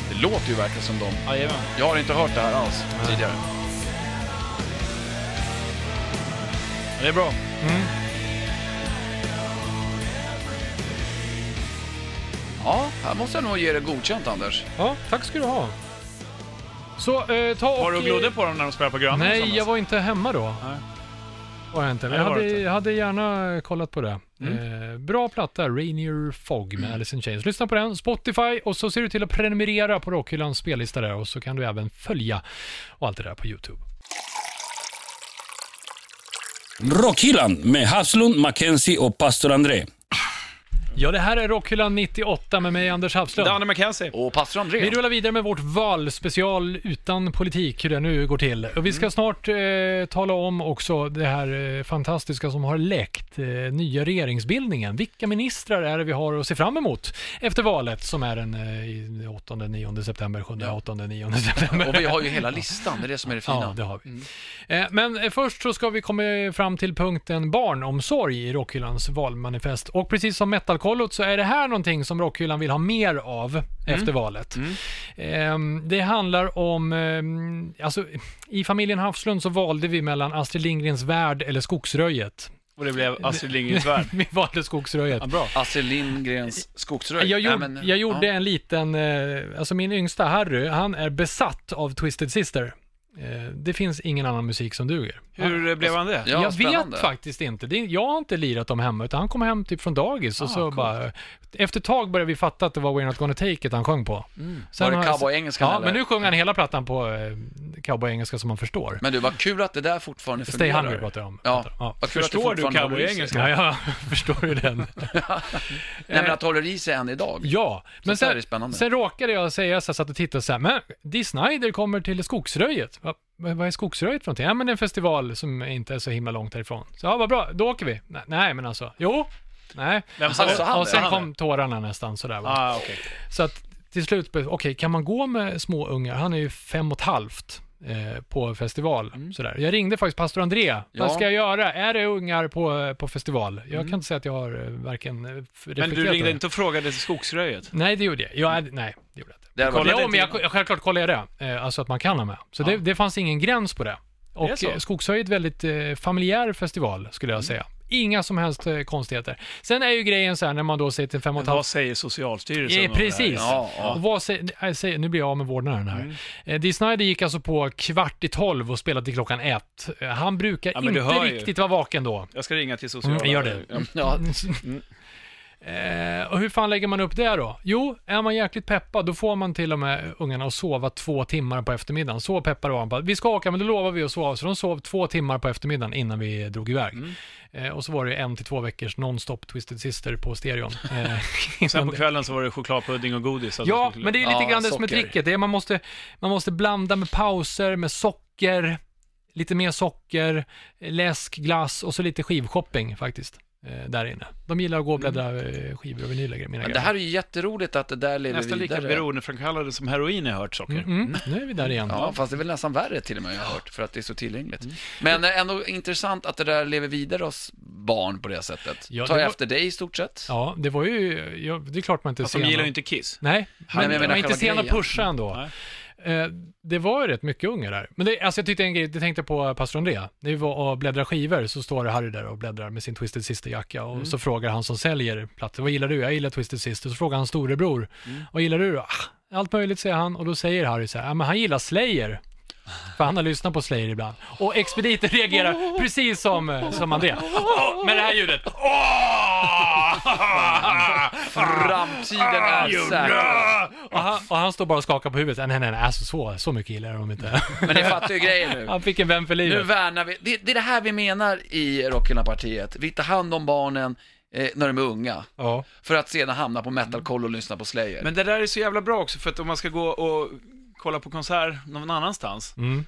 [SPEAKER 3] Det låter ju verkligen som dem.
[SPEAKER 4] Jajamän.
[SPEAKER 3] Jag har inte hört det här alls tidigare.
[SPEAKER 4] Det är bra.
[SPEAKER 3] Ja, här måste jag nog ge det godkänt Anders.
[SPEAKER 2] Ja, tack ska du ha. Så eh, ta och...
[SPEAKER 4] Har du glodde på dem när de spelar på Grönan
[SPEAKER 2] Nej, jag var inte hemma då.
[SPEAKER 4] Nej.
[SPEAKER 2] Var jag inte. Men
[SPEAKER 4] Nej,
[SPEAKER 2] jag
[SPEAKER 4] det var
[SPEAKER 2] hade,
[SPEAKER 4] du inte. Mm.
[SPEAKER 2] jag hade gärna kollat på det. Eh, bra platta, Rainier Fog med Alice in Chains. Lyssna på den, Spotify och så ser du till att prenumerera på Rockhyllans spellista där och så kan du
[SPEAKER 4] Mm.
[SPEAKER 2] även följa och allt det där på YouTube.
[SPEAKER 1] Rockhyllan med Havslund, Mackenzie och pastor André.
[SPEAKER 2] Ja, det här är Rockhyllan 98 med mig, Anders Hafslund.
[SPEAKER 4] Danne McKenzie.
[SPEAKER 3] Och pastor André.
[SPEAKER 2] Vi rullar vidare med vårt valspecial utan politik, hur det nu går till. Och vi ska snart eh, tala om också det här eh, fantastiska som har läckt, eh, nya regeringsbildningen. Vilka ministrar är det vi har att se fram emot efter valet som är den eh, i 8, 9 september, 7, 8, 9 [laughs] september.
[SPEAKER 3] Och vi har ju hela listan, det är det som är det fina.
[SPEAKER 2] Ja, det har
[SPEAKER 3] Mm.
[SPEAKER 2] vi. Eh, Men eh, först så ska vi komma fram till punkten barnomsorg i Rockhyllans valmanifest. Och precis som Metalkollot så är det här någonting som Rockhyllan vill ha mer av
[SPEAKER 3] Mm.
[SPEAKER 2] efter valet. Eh, Det handlar om, eh, alltså i familjen Hafslund så valde vi mellan Astrid Lindgrens Värld eller Skogsröjet. [laughs]
[SPEAKER 4] Och det blev Astrid Lindgrens Värld.
[SPEAKER 2] Vi valde Skogsröjet.
[SPEAKER 4] Ja, bra.
[SPEAKER 3] Astrid Lindgrens skogsröj.
[SPEAKER 2] Jag, gjorde,
[SPEAKER 3] Nej, men-
[SPEAKER 2] jag gjorde
[SPEAKER 3] ja.
[SPEAKER 2] en liten, eh, alltså min yngsta Harry, han är besatt av Twisted Sister. Eh, Det finns ingen annan musik som duger.
[SPEAKER 4] Hur blev han det?
[SPEAKER 3] Ja,
[SPEAKER 2] jag
[SPEAKER 3] spännande.
[SPEAKER 2] vet faktiskt inte. Det, är- jag har inte lirat dem hemma, utan han kom hem typ från dagis
[SPEAKER 3] Ah,
[SPEAKER 2] och så bara... Efter ett tag började vi fatta att det var We're Not Gonna Take It han sjöng på. Sen
[SPEAKER 3] Mm. Var det
[SPEAKER 2] har jag-
[SPEAKER 3] cowboyengelskan
[SPEAKER 2] Ja,
[SPEAKER 3] eller?
[SPEAKER 2] men nu sjunger han hela plattan på eh, cowboyengelska som man förstår.
[SPEAKER 3] Men du, vad kul att det där fortfarande
[SPEAKER 2] Stay
[SPEAKER 3] fungerar.
[SPEAKER 2] hungry pratar jag om.
[SPEAKER 3] Ja, vad kul
[SPEAKER 4] Förstår
[SPEAKER 3] att det
[SPEAKER 4] du
[SPEAKER 3] fortfarande håller i sig.
[SPEAKER 4] cowboyengelska?
[SPEAKER 2] Ja, jag [laughs] förstår ju den.
[SPEAKER 3] Nej, men att det håller i sig än idag.
[SPEAKER 2] Ja, Eh, men
[SPEAKER 3] Sånt där
[SPEAKER 2] sen,
[SPEAKER 3] är spännande.
[SPEAKER 2] sen råkade jag säga så här, satt och tittade så här, men Dee Snider kommer till Skogsröjet. Va, men vad är Skogsröjet för någonting? Ja, men det är en festival som inte är så himla långt härifrån. Så ja, vad bra, då åker vi. Nej, nej men alltså, jo, nej.
[SPEAKER 4] Vem sa
[SPEAKER 3] Alltså,
[SPEAKER 4] det?
[SPEAKER 3] han-
[SPEAKER 2] och sen
[SPEAKER 3] han-
[SPEAKER 2] kom tårarna nästan sådär. Va?
[SPEAKER 4] Ah, okej.
[SPEAKER 2] Så att till slut, okej, kan man gå med små ungar? Han är ju fem och ett halvt eh, på festival.
[SPEAKER 4] Mm.
[SPEAKER 2] Sådär. Jag ringde faktiskt pastor André. Vad ska jag göra? Är det ungar på, på festival? Jag kan inte säga att jag har eh, varken eh, reflekterat
[SPEAKER 4] Mm. Men du
[SPEAKER 2] över
[SPEAKER 4] ringde
[SPEAKER 2] det.
[SPEAKER 4] inte och frågade till skogsröjet?
[SPEAKER 2] Nej, det gjorde jag. jag hade, nej, det gjorde jag inte.
[SPEAKER 3] Det hade varit-
[SPEAKER 4] Kollade
[SPEAKER 2] Jo,
[SPEAKER 4] inte
[SPEAKER 2] men jag, jag, självklart kollade jag det. Eh, Alltså att man kan ha med. Så det, det fanns ingen gräns på det.
[SPEAKER 4] Det är
[SPEAKER 2] Och
[SPEAKER 4] så. Mm.
[SPEAKER 2] eh, Skogshöj är ett väldigt eh, familjär festival, skulle jag säga. Inga som helst eh, konstigheter. Sen är ju grejen så här när man då säger till en fem och ett halvt
[SPEAKER 4] Vad säger Socialstyrelsen?
[SPEAKER 2] Ja,
[SPEAKER 4] om det här?
[SPEAKER 2] precis.
[SPEAKER 3] Ja, ja.
[SPEAKER 2] Och vad säger, nej, säger, nu blir jag av med vårdnaden här. Mm. Dee Snider gick alltså på kvart i tolv och spelade till klockan ett. Eh, Han brukar
[SPEAKER 4] Ja, men du
[SPEAKER 2] inte
[SPEAKER 4] hör ju.
[SPEAKER 2] riktigt vara vaken då.
[SPEAKER 4] Jag ska ringa till socialen.
[SPEAKER 2] Mm, gör det.
[SPEAKER 3] Ja,
[SPEAKER 2] Eh, och hur fan lägger man upp det då? Jo, är man jäkligt peppad, då får man till och med ungarna att sova två timmar på eftermiddagen. Så peppade var han på att vi ska åka, men då lovar vi att sova. Så de sov två timmar på eftermiddagen innan vi drog iväg. Eh, och så var det en till två veckors non-stop Twisted Sister på [laughs] stereon. Eh,
[SPEAKER 4] Sen
[SPEAKER 2] innan
[SPEAKER 4] på kvällen så var det chokladpudding och godis. så att
[SPEAKER 2] Ja,
[SPEAKER 4] de skulle-
[SPEAKER 2] men det är lite
[SPEAKER 3] Ja,
[SPEAKER 2] grann det som är
[SPEAKER 3] socker.
[SPEAKER 2] tricket. Det är, man, måste, man måste blanda med pauser, med socker, lite mer socker, läsk, glass och så lite skivshopping faktiskt. eh, Där inne. De gillar att gå och bläddra eh, skivor och vinyler, mina
[SPEAKER 3] men det
[SPEAKER 2] grabbar.
[SPEAKER 3] här är ju jätteroligt att det där lever
[SPEAKER 4] Nästan lika
[SPEAKER 3] vidare.
[SPEAKER 4] beroendeframkallande som heroin har jag hört socker.
[SPEAKER 2] Mm, mm, nu är vi där igen.
[SPEAKER 3] Ja, fast det är väl nästan värre till och med, jag har hört, för att det är så tillgängligt.
[SPEAKER 2] Mm.
[SPEAKER 3] Men eh, ändå intressant att det där lever vidare hos barn på det sättet.
[SPEAKER 2] Ja,
[SPEAKER 3] Ta
[SPEAKER 2] det var-
[SPEAKER 3] efter dig i stort sett.
[SPEAKER 2] Ja, det var ju, ja, det är klart man inte
[SPEAKER 4] Fast Alltså, de
[SPEAKER 2] ser
[SPEAKER 4] gillar
[SPEAKER 2] någon-
[SPEAKER 4] ju inte Kiss.
[SPEAKER 2] Nej,
[SPEAKER 3] Nej,
[SPEAKER 2] men
[SPEAKER 3] men jag
[SPEAKER 2] de
[SPEAKER 3] menar
[SPEAKER 2] var inte
[SPEAKER 3] själva
[SPEAKER 2] sen att
[SPEAKER 3] grejen.
[SPEAKER 2] pusha ändå. Eh, Det var ju rätt mycket unga där. Men det, alltså jag tyckte en grej, det tänkte jag på pastor André. När vi var och bläddrade skivor så står Harry där och bläddrar med sin Twisted Sister-jacka och så frågar han som säljer plattor, vad gillar du? Jag gillar Twisted Sister. Så frågar han storebror, vad gillar du då? "Ah, Allt möjligt säger han och då säger Harry så här, "Ja, men han gillar Slayer. För han har lyssnat på Slayer ibland. Och expediten reagerar precis som, eh, som André. Åh, med det här ljudet.
[SPEAKER 3] Framtiden
[SPEAKER 4] Ah,
[SPEAKER 3] är säker.
[SPEAKER 2] Och han, och han står bara och skakar på huvudet. Nej, nej, nej, alltså så, så mycket gillar jag dem inte.
[SPEAKER 3] Men ni fattar ju grejen
[SPEAKER 2] [laughs]
[SPEAKER 3] nu.
[SPEAKER 2] Han fick en vän för
[SPEAKER 3] Nu
[SPEAKER 2] livet.
[SPEAKER 3] värnar vi, det, det är det här vi menar i Rockhyllan-partiet. Vi tar hand om barnen eh, när de är unga,
[SPEAKER 2] Ja.
[SPEAKER 3] för att sedan hamna på metalkoll och lyssna på Slayer.
[SPEAKER 4] Men det där är så jävla bra också, för att om man ska gå och kolla på konsert någon annanstans,
[SPEAKER 2] Mm.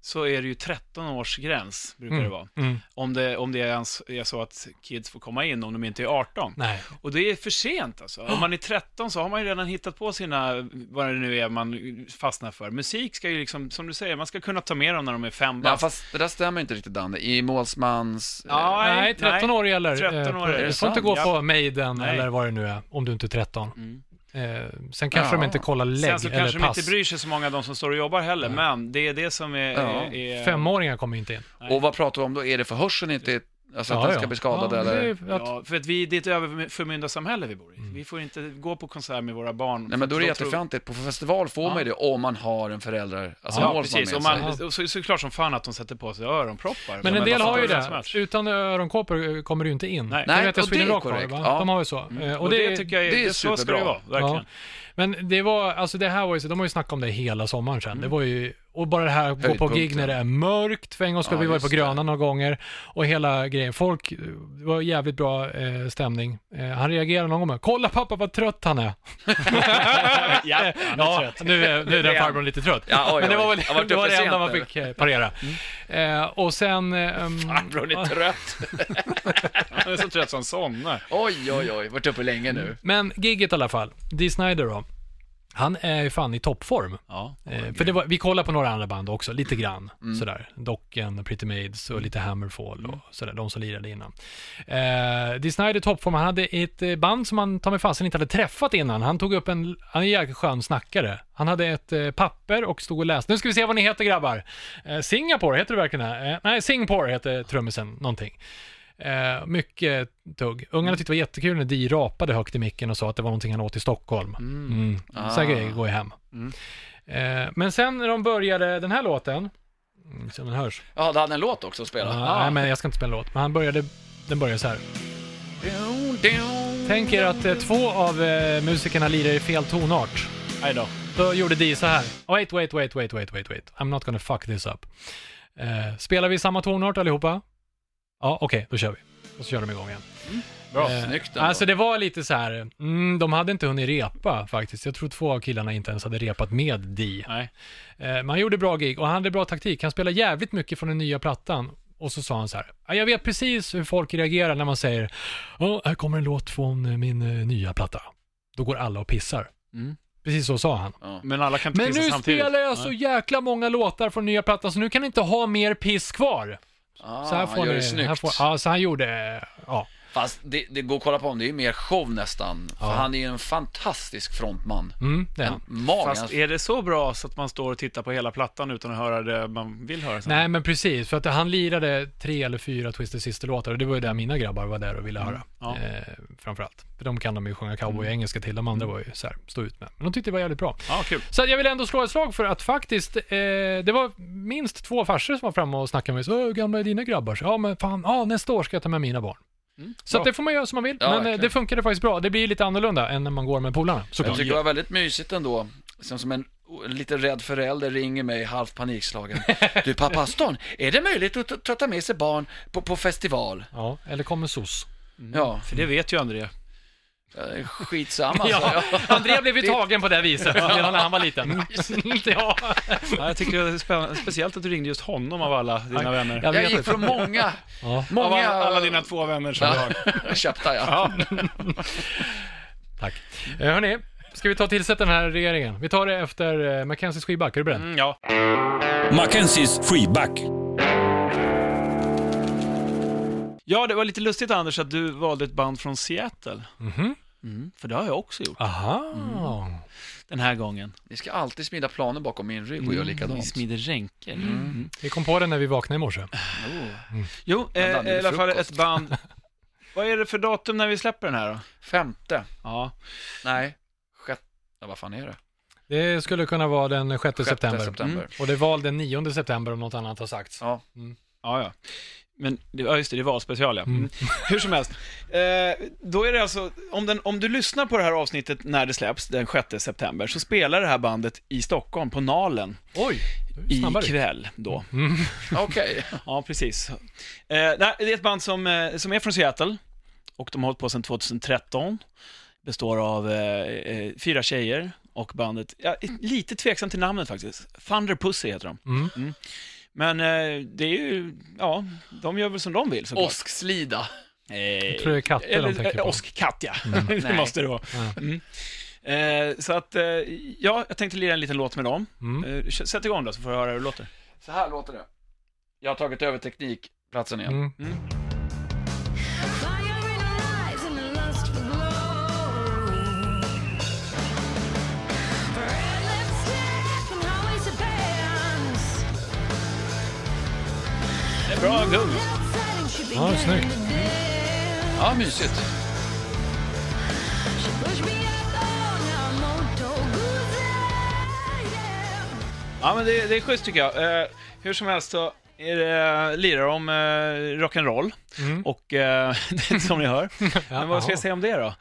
[SPEAKER 4] så är det ju 13 års gräns, brukar det vara.
[SPEAKER 2] Mm.
[SPEAKER 4] Om det, om det ens är så att kids får komma in om de inte är 18.
[SPEAKER 2] Nej.
[SPEAKER 4] Och det är för sent alltså. Om man är 13 så har man ju redan hittat på sina, vad det nu är man fastnar för. Musik ska ju liksom, som du säger, man ska kunna ta med dem när de är fem
[SPEAKER 3] Ja,
[SPEAKER 4] bast.
[SPEAKER 3] fast det där stämmer inte riktigt Danne. I målsmans... eh,
[SPEAKER 4] Nej,
[SPEAKER 2] Nej, 13
[SPEAKER 4] nej.
[SPEAKER 2] år gäller.
[SPEAKER 4] 13 år
[SPEAKER 2] Eh,
[SPEAKER 4] är det
[SPEAKER 2] Du får
[SPEAKER 3] sant?
[SPEAKER 2] inte gå
[SPEAKER 4] Ja.
[SPEAKER 2] på Maiden
[SPEAKER 4] Nej.
[SPEAKER 2] eller vad det nu är, om du inte är 13.
[SPEAKER 3] Mm.
[SPEAKER 2] Eh, sen kanske
[SPEAKER 3] Ja.
[SPEAKER 2] de inte kollar
[SPEAKER 4] Sen
[SPEAKER 2] lägg
[SPEAKER 4] så
[SPEAKER 2] eller
[SPEAKER 4] kanske de
[SPEAKER 2] pass.
[SPEAKER 4] inte bryr sig så många av de som står och jobbar heller, men det är det som är...
[SPEAKER 3] Ja.
[SPEAKER 4] är, är
[SPEAKER 2] Femåringar kommer ju inte in.
[SPEAKER 3] eh, Och vad pratar vi om då? Är det för hörseln inte, alltså att
[SPEAKER 2] Ja,
[SPEAKER 3] den ska
[SPEAKER 2] ja.
[SPEAKER 3] bli skadad
[SPEAKER 2] Ja,
[SPEAKER 3] eller?
[SPEAKER 2] det är att- Mm.
[SPEAKER 4] Ja, för att vi, det är ett överförmyndarsamhälle vi bor i. Vi får inte gå på konsert med våra barn.
[SPEAKER 3] Nej men då är det
[SPEAKER 4] För att tror-
[SPEAKER 3] jättefjantigt. På festival får man ju det om man har en förälder, alltså
[SPEAKER 4] Ja,
[SPEAKER 3] målsman
[SPEAKER 4] precis.
[SPEAKER 3] med
[SPEAKER 4] Och,
[SPEAKER 3] sig.
[SPEAKER 4] man, och så, så är det klart som fan att de sätter på sig öronproppar.
[SPEAKER 2] Men
[SPEAKER 4] Som
[SPEAKER 2] en del
[SPEAKER 4] massa
[SPEAKER 2] har ju
[SPEAKER 4] andra som
[SPEAKER 2] det.
[SPEAKER 4] helst.
[SPEAKER 2] Utan öronkåpor eh, kommer du ju inte in.
[SPEAKER 4] Nej.
[SPEAKER 2] Det
[SPEAKER 3] Nej,
[SPEAKER 2] vet jag
[SPEAKER 3] och det
[SPEAKER 2] Sweden
[SPEAKER 3] är
[SPEAKER 2] Rock har,
[SPEAKER 3] korrekt.
[SPEAKER 2] va?
[SPEAKER 3] Ja. Mm.
[SPEAKER 2] De har ju så. Eh,
[SPEAKER 4] Och det, tycker jag är,
[SPEAKER 3] det är
[SPEAKER 4] så ska det
[SPEAKER 3] superbra.
[SPEAKER 4] vara, verkligen.
[SPEAKER 2] Men det var, alltså det här var ju, så- de har ju snackat om det hela sommaren sen. Det var ju, och bara det här att gå på
[SPEAKER 3] Mm. Höjdpunkten.
[SPEAKER 2] gig när det är mörkt för en gångs skull.
[SPEAKER 3] Ja,
[SPEAKER 2] vi var ju på
[SPEAKER 3] just
[SPEAKER 2] Gröna några gånger och hela grejen. Folk, det var jävligt bra eh, stämning. Eh, han reagerade någon gång med, kolla pappa vad trött
[SPEAKER 3] [laughs]
[SPEAKER 2] han är.
[SPEAKER 4] ja,
[SPEAKER 2] [laughs] Ja, nu är, nu är den
[SPEAKER 4] Det är han.
[SPEAKER 2] farbrorn lite trött.
[SPEAKER 3] Ja, oj, oj.
[SPEAKER 2] Men det var väl
[SPEAKER 3] Jag har varit
[SPEAKER 2] det, var
[SPEAKER 3] uppe
[SPEAKER 2] det enda
[SPEAKER 3] sent
[SPEAKER 2] man
[SPEAKER 3] nu. Mm.
[SPEAKER 2] fick eh, parera. Eh, och sen... ehm,
[SPEAKER 3] Farbrorn är trött.
[SPEAKER 4] Han är så trött så han somnar.
[SPEAKER 3] Oj, oj, oj. Varit uppe länge nu.
[SPEAKER 2] men gigget i alla fall. Dee Snider då. Han är ju fan i toppform.
[SPEAKER 4] Ja.
[SPEAKER 2] Eh, för det var, vi kollade på några andra band också, lite grann. Sådär. Docken, Pretty Maids och lite Hammerfall och sådär, de som lirade innan. Eh, Dee Snider toppform, han hade ett eh, band som han ta mig fasen inte hade träffat innan. Han tog upp en, han är en jäkligt skön snackare. Han hade ett eh, papper och stod och läste. Nu ska vi se vad ni heter grabbar. Eh, Singapore, heter det verkligen det? Eh, nej, Singapore heter trummisen, någonting. Eh, mycket tugg. Ungarna tyckte det var jättekul när Dee rapade högt i micken och sa att det var någonting han åt i Stockholm. Mm.
[SPEAKER 3] Ah. Mm.
[SPEAKER 2] Sådana grejer går ju hem. Eh, men sen när de började den här låten, mm, så den hörs.
[SPEAKER 3] Ja, du hade en låt också att spela.
[SPEAKER 2] Ah, Nej, men jag ska inte spela låt, men han började, den börjar så här.
[SPEAKER 3] Dun, dun.
[SPEAKER 2] Tänk er att eh, två av eh, musikerna lirar i fel tonart.
[SPEAKER 4] Aj då.
[SPEAKER 2] Då gjorde Dee så här. "Oh, Wait, wait, wait, wait, wait, wait, wait. I'm not gonna fuck this up. Eh, spelar vi samma tonart allihopa? Ja, okej, då kör vi. Och så kör de igång igen.
[SPEAKER 3] Bra,
[SPEAKER 2] Eh,
[SPEAKER 3] snyggt ändå.
[SPEAKER 2] Alltså det var lite så här, mm, de hade inte hunnit repa faktiskt. Jag tror två av killarna inte ens hade repat med Dee.
[SPEAKER 4] Nej.
[SPEAKER 2] Eh, Men han gjorde bra gig och han hade bra taktik. Han spelade jävligt mycket från den nya plattan. Och så sa han så här, "Ja, jag vet precis hur folk reagerar när man säger, oh, här kommer en låt från eh, min eh, nya platta. Då går alla och pissar.
[SPEAKER 4] Mm.
[SPEAKER 2] Precis så sa han.
[SPEAKER 4] Men alla kan inte
[SPEAKER 2] Men nu
[SPEAKER 4] pissa samtidigt.
[SPEAKER 2] spelar jag så jäkla många låtar från nya plattan så nu kan ni inte ha mer piss kvar.
[SPEAKER 3] Ah,
[SPEAKER 2] så här får
[SPEAKER 3] han gör
[SPEAKER 2] ni,
[SPEAKER 3] det snyggt.
[SPEAKER 2] här får, ja, så han gjorde, eh, ja.
[SPEAKER 3] Fast det, det går att kolla på honom, det är ju mer show nästan. För han är ju en fantastisk frontman.
[SPEAKER 2] Mm, det är han.
[SPEAKER 3] En magen.
[SPEAKER 4] Fast är det så bra så att man står och tittar på hela plattan utan att höra det man vill höra sen?
[SPEAKER 2] Nej men precis, för att han lirade tre eller fyra Twisted Sister-låtar och det var ju där mina grabbar var där och ville
[SPEAKER 3] Mm,
[SPEAKER 2] höra.
[SPEAKER 4] Ja.
[SPEAKER 2] Eh, framförallt. För de kan de ju sjunga cowboy-engelska till, de
[SPEAKER 3] Mm.
[SPEAKER 2] andra var ju så här, stå ut med. Men de tyckte det var jävligt bra.
[SPEAKER 4] Ja, kul.
[SPEAKER 2] Så att jag vill ändå slå ett slag för att faktiskt, eh, det var minst två farsor som var framme och snackade med mig. Så, "Åh, hur gamla är dina grabbar? Så, Ja men fan, ja, nästa år ska jag ta med mina barn. så att det får man göra som man vill,
[SPEAKER 3] Mm. Ja,
[SPEAKER 2] men eh,
[SPEAKER 3] verkligen.
[SPEAKER 2] det funkade faktiskt bra. Det blir lite annorlunda än när man går med polarna,
[SPEAKER 3] Jag
[SPEAKER 2] såklart.
[SPEAKER 3] tycker det var väldigt mysigt ändå. Sen som en o- lite rädd förälder ringer mig halvt panikslagen. Du pappa Aston, är det möjligt att ta- ta ta med sig barn på, på festival?
[SPEAKER 2] Ja, eller kommer SOS.
[SPEAKER 3] Ja,
[SPEAKER 4] För det vet ju André.
[SPEAKER 3] eh, skitsamma
[SPEAKER 2] Ja,
[SPEAKER 3] alltså.
[SPEAKER 2] André blev ju
[SPEAKER 3] Det-
[SPEAKER 2] tagen på det viset redan när han var
[SPEAKER 3] [laughs]
[SPEAKER 2] liten. [laughs] ja.
[SPEAKER 4] Ja, jag tycker det är spä- speciellt att du ringde just honom av alla dina vänner.
[SPEAKER 2] Jag
[SPEAKER 3] Jag
[SPEAKER 2] vet
[SPEAKER 3] gick
[SPEAKER 2] inte.
[SPEAKER 3] från många,
[SPEAKER 2] Ja.
[SPEAKER 3] många...
[SPEAKER 4] Av alla, alla dina två vänner som du har.
[SPEAKER 3] Köpta ja. [laughs]
[SPEAKER 2] Tack. Eh, Hörni, ska vi ta och tillsätta den här regeringen? Vi tar det efter eh, Mackenzies skivback. Är du beredd?
[SPEAKER 4] Mm, ja.
[SPEAKER 1] Mackenzies freeback.
[SPEAKER 4] ja, det var lite lustigt Anders att du valde ett band från Seattle.
[SPEAKER 2] Mhm.
[SPEAKER 4] Mm, för det har jag också gjort.
[SPEAKER 2] Aha. Mm.
[SPEAKER 4] Den här gången.
[SPEAKER 3] Ni ska alltid smida planer bakom min rygg och göra
[SPEAKER 4] Vi
[SPEAKER 3] likadant.
[SPEAKER 4] Mm, smider ränker. Mm.
[SPEAKER 2] Vi kom på den när vi vaknade i morse.
[SPEAKER 4] Jo, eh,
[SPEAKER 3] Vänta, nu är det
[SPEAKER 4] i alla fall
[SPEAKER 3] frukost.
[SPEAKER 4] ett band. Vad är det för datum när vi släpper den här då?
[SPEAKER 3] Femte,
[SPEAKER 4] Ja,
[SPEAKER 3] nej, sjätte, ja, vad fan är det?
[SPEAKER 2] Det skulle kunna vara den 6
[SPEAKER 3] Sjätte
[SPEAKER 2] september.
[SPEAKER 3] september.
[SPEAKER 2] Och det är val den 9 september om något annat har sagts.
[SPEAKER 3] Ja.
[SPEAKER 4] Ja, ja. Men det, ja, just det, det var special ja.
[SPEAKER 2] Mm.
[SPEAKER 4] Hur som helst. Eh, då är det alltså, om, den, om du lyssnar på det här avsnittet när det släpps, den 6 september, så spelar det här bandet i Stockholm, på Nalen,
[SPEAKER 2] Oj, du är snabbare. Mm.
[SPEAKER 4] ikväll då.
[SPEAKER 3] Okej.
[SPEAKER 4] Ja, precis. Eh, nej, det är ett band som, eh, som är från Seattle och de har hållit på sedan 2013. Består av eh, eh, fyra tjejer och bandet, ja, lite tveksam till namnet faktiskt. Thunder Pussy heter de.
[SPEAKER 2] Mm.
[SPEAKER 4] Men eh, det är ju, ja, de gör väl som de vill såklart. Eh,
[SPEAKER 3] Åskslida.
[SPEAKER 4] Jag
[SPEAKER 2] tror det är katter de tänker på. Mm.
[SPEAKER 4] Åskkatt, ja. [laughs] det
[SPEAKER 3] Nej.
[SPEAKER 4] måste det vara.
[SPEAKER 2] Ja.
[SPEAKER 4] Mm. Eh, så att, eh, ja, jag tänkte lira en liten låt med dem.
[SPEAKER 2] Mm.
[SPEAKER 4] Eh, kö- sätt igång då, så får jag höra hur det låter.
[SPEAKER 3] Så här låter det. Jag har tagit över teknikplatsen igen.
[SPEAKER 2] Mm.
[SPEAKER 6] Fire in our lives and a lust for glory. Red lipstick and always a bands.
[SPEAKER 4] Det är bra gung.
[SPEAKER 6] Outside and she
[SPEAKER 2] Ja,
[SPEAKER 6] began
[SPEAKER 2] snyggt.
[SPEAKER 6] to dance.
[SPEAKER 3] Ja, mysigt.
[SPEAKER 6] She pushed me up on a motorcycle,
[SPEAKER 2] Mm.
[SPEAKER 6] yeah.
[SPEAKER 4] Ja, men det, det är schysst tycker jag. Eh, hur som helst så är det, lirar de eh, rock'n'roll.
[SPEAKER 2] Mm.
[SPEAKER 4] Och, eh, [laughs] som ni hör.
[SPEAKER 2] [laughs] Ja,
[SPEAKER 4] men vad ska jag
[SPEAKER 2] aha.
[SPEAKER 4] säga om det då?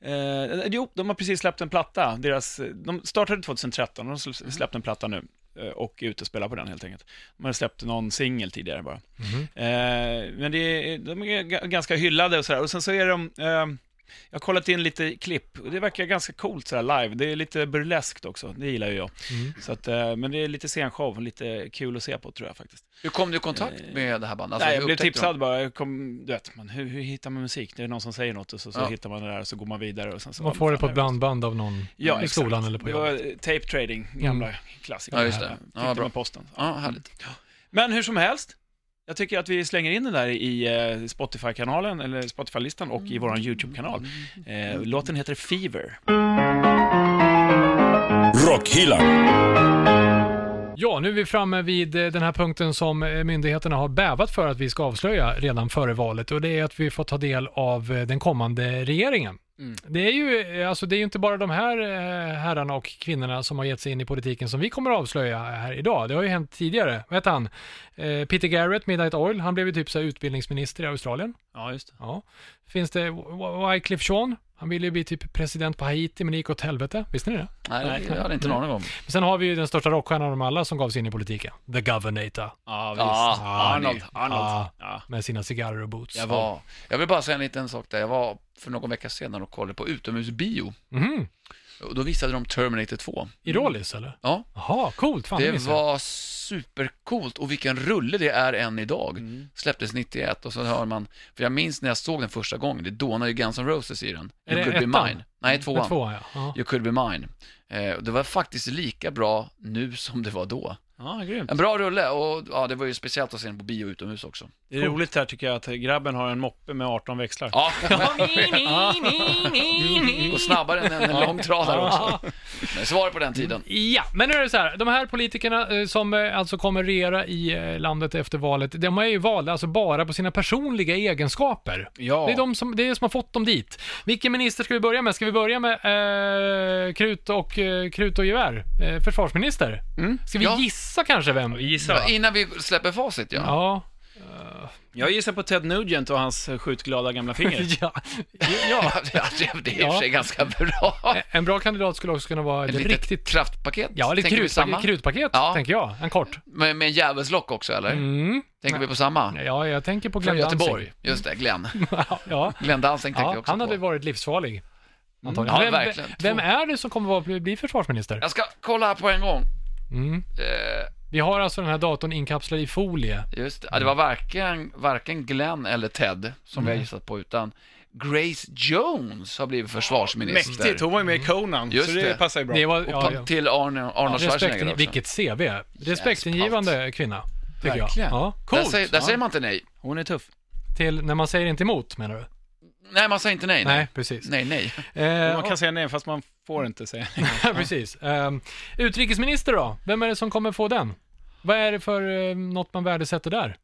[SPEAKER 4] Eh, jo, de har precis släppt en platta. Deras, de startade 2013 och de sl-
[SPEAKER 2] Mm.
[SPEAKER 4] släppte en platta nu eh, och är ute och spelar på den helt enkelt. De har släppt någon singel tidigare bara.
[SPEAKER 2] Mm-hmm.
[SPEAKER 4] Eh, men det är, de är ga- ganska hyllade och sådär. Och sen så är de, ehm, jag har kollat in lite klipp och det verkar ganska coolt sådär live. Det är lite burleskt också, det gillar ju jag. Så att, eh, men det är lite scenshow och lite kul att se på tror jag faktiskt.
[SPEAKER 3] Hur kom du i kontakt med det här bandet? Alltså,
[SPEAKER 4] Nej, jag
[SPEAKER 3] hur
[SPEAKER 4] blev
[SPEAKER 3] upptäckte
[SPEAKER 4] tipsad
[SPEAKER 3] du
[SPEAKER 4] bara. Jag kom, du vet, man, hur, hur hittar man musik? Det är någon som säger något och så, så
[SPEAKER 3] Ja.
[SPEAKER 4] hittar man det där och så går man vidare och sen så...
[SPEAKER 2] Man får det på
[SPEAKER 4] Ja,
[SPEAKER 2] ett blandband av någon
[SPEAKER 4] Ja,
[SPEAKER 2] i
[SPEAKER 4] exakt.
[SPEAKER 2] skolan eller på
[SPEAKER 4] Det var
[SPEAKER 2] jobbet. Mm.
[SPEAKER 4] eh, tape trading, gamla klassiker.
[SPEAKER 3] Ja, just det.
[SPEAKER 4] Fick
[SPEAKER 3] Ja,
[SPEAKER 4] det
[SPEAKER 3] bra.
[SPEAKER 4] med posten.
[SPEAKER 3] dem? Ja, härligt.
[SPEAKER 4] Men hur som helst, jag tycker att vi slänger in den där i eh, Spotify-kanalen, eller Spotify-listan och i vår YouTube-kanal. Eh, Låten heter Fever.
[SPEAKER 1] Rockhyllan.
[SPEAKER 2] Ja, nu är vi framme vid eh, den här punkten som eh, myndigheterna har bävat för att vi ska avslöja redan före valet och det är att vi får ta del av eh, den kommande regeringen. Det är ju eh, alltså, det är ju inte bara de här eh, herrarna och kvinnorna som har gett sig in i politiken som vi kommer att avslöja här idag. Det har ju hänt tidigare. Vad heter han? Eh, Peter Garrett, Midnight Oil, han blev ju typ så här utbildningsminister i Australien.
[SPEAKER 4] Ja, just det.
[SPEAKER 2] Ja. Finns det Wy- Wycliffe Sean? Han ville ju bli typ president på Haiti, men det gick åt helvete. Visste ni det?
[SPEAKER 3] Nej, det jag hade inte en aning om.
[SPEAKER 2] Men sen har vi ju den största rockstjärnan av dem alla som gav sig in i politiken. The Governator.
[SPEAKER 4] Ja, visst.
[SPEAKER 3] Ja,
[SPEAKER 4] Arnold.
[SPEAKER 3] han
[SPEAKER 4] Arnold.
[SPEAKER 2] Ah, Ja.
[SPEAKER 4] Ja.
[SPEAKER 2] Med sina cigarrer och boots.
[SPEAKER 3] Jag, var, jag vill bara säga en liten sak där. Jag var för någon vecka sedan och kollade på utomhusbio.
[SPEAKER 2] Mhm.
[SPEAKER 3] Och då visade de Terminator 2.
[SPEAKER 2] I Rålis eller?
[SPEAKER 3] Ja.
[SPEAKER 2] Jaha, coolt. Fan, det
[SPEAKER 3] Det
[SPEAKER 2] missade jag.
[SPEAKER 3] var supercoolt och vilken rulle det är än idag. Släpptes 91 och så hör man, för jag minns när jag såg den första gången, det dånade ju Guns N' Roses i den.
[SPEAKER 2] Är det ettan?
[SPEAKER 3] mine. Nej, tvåan.
[SPEAKER 2] Med tvåan ja. ja.
[SPEAKER 3] You could be mine. Eh, och det var faktiskt lika bra nu som det var då.
[SPEAKER 4] Ja, grymt.
[SPEAKER 3] En bra rulle och ja, det var ju speciellt att se den på bio utomhus också.
[SPEAKER 4] Det är roligt här tycker jag att grabben har en moppe med 18 växlar.
[SPEAKER 3] Ja, [laughs] och snabbare än en långtradare också. Men så var det på den tiden.
[SPEAKER 2] Ja, men nu är det så här. De här politikerna eh, som eh, alltså kommer regera i eh, landet efter valet, de är ju valda alltså bara på sina personliga egenskaper.
[SPEAKER 4] Ja.
[SPEAKER 2] Det är de som, det är som har fått dem dit. Vilken minister ska vi börja med? Ska vi börja med eh, krut, och, eh, krut och gevär? Eh, försvarsminister? Ska vi
[SPEAKER 3] Mm. Ja.
[SPEAKER 2] gissa kanske vem?
[SPEAKER 4] Gissa va?
[SPEAKER 3] Innan vi släpper facit ja.
[SPEAKER 2] Ja.
[SPEAKER 4] Jag gissar på Ted Nugent och hans eh, skjutglada
[SPEAKER 3] [laughs]
[SPEAKER 4] gamla finger.
[SPEAKER 2] ja.
[SPEAKER 3] Ja, det, det är i och för sig ganska bra.
[SPEAKER 2] En bra kandidat skulle också kunna vara ett
[SPEAKER 3] Ett litet
[SPEAKER 2] Eh, riktigt...
[SPEAKER 3] kraftpaket.
[SPEAKER 2] Ja, lite
[SPEAKER 3] Tänker vi samma?
[SPEAKER 2] krutpaket, krutpaket
[SPEAKER 3] Ja.
[SPEAKER 2] tänker jag. En kort.
[SPEAKER 3] Med, med en djävulslock också eller?
[SPEAKER 2] Mm.
[SPEAKER 3] Tänker vi på samma?
[SPEAKER 2] Ja, jag tänker på
[SPEAKER 3] Från
[SPEAKER 2] Glenn
[SPEAKER 3] Göteborg. Just det, Glenn.
[SPEAKER 2] Danzig. [laughs] ja.
[SPEAKER 3] Glenn Dansing tänker jag
[SPEAKER 2] Ja,
[SPEAKER 3] också
[SPEAKER 2] han hade
[SPEAKER 3] på. Mm.
[SPEAKER 2] varit livsfarlig. Antagligen.
[SPEAKER 3] Ja,
[SPEAKER 2] vem,
[SPEAKER 3] verkligen.
[SPEAKER 2] vem
[SPEAKER 3] Två.
[SPEAKER 2] är det som kommer att bli- bli försvarsminister?
[SPEAKER 3] Jag ska kolla här på en gång.
[SPEAKER 2] Mm.
[SPEAKER 3] Eh,
[SPEAKER 2] Vi har alltså den här datorn inkapslad i folie.
[SPEAKER 3] Just det. Ja, det
[SPEAKER 4] Mm.
[SPEAKER 3] var varken, varken Glenn eller Ted som vi har gissat på, utan Grace Jones har blivit försvarsminister.
[SPEAKER 4] Mäktigt, hon var ju med i Conan,
[SPEAKER 3] Just
[SPEAKER 4] så det,
[SPEAKER 3] det.
[SPEAKER 4] passar ju bra.
[SPEAKER 2] Det var,
[SPEAKER 3] Och
[SPEAKER 2] ja,
[SPEAKER 3] pa-
[SPEAKER 2] ja.
[SPEAKER 3] till Arne, Arnold Schwarzenegger
[SPEAKER 2] Respekt,
[SPEAKER 3] också.
[SPEAKER 2] vilket CV. Respektingivande kvinna, tycker
[SPEAKER 4] Verkligen.
[SPEAKER 2] jag. Ja.
[SPEAKER 3] Där,
[SPEAKER 4] Coolt!
[SPEAKER 3] säger, där
[SPEAKER 4] Ja.
[SPEAKER 3] säger man inte nej.
[SPEAKER 4] Hon är tuff.
[SPEAKER 2] Till när man säger inte emot, menar du?
[SPEAKER 3] Nej, man säger inte nej.
[SPEAKER 2] Nej,
[SPEAKER 3] Nej,
[SPEAKER 2] precis.
[SPEAKER 3] nej. nej.
[SPEAKER 2] Eh,
[SPEAKER 4] Man kan säga nej, fast man får inte säga nej.
[SPEAKER 2] Ja, precis. Ehm, utrikesminister då? Vem är det som kommer få den? Vad är det för eh, något man värdesätter där?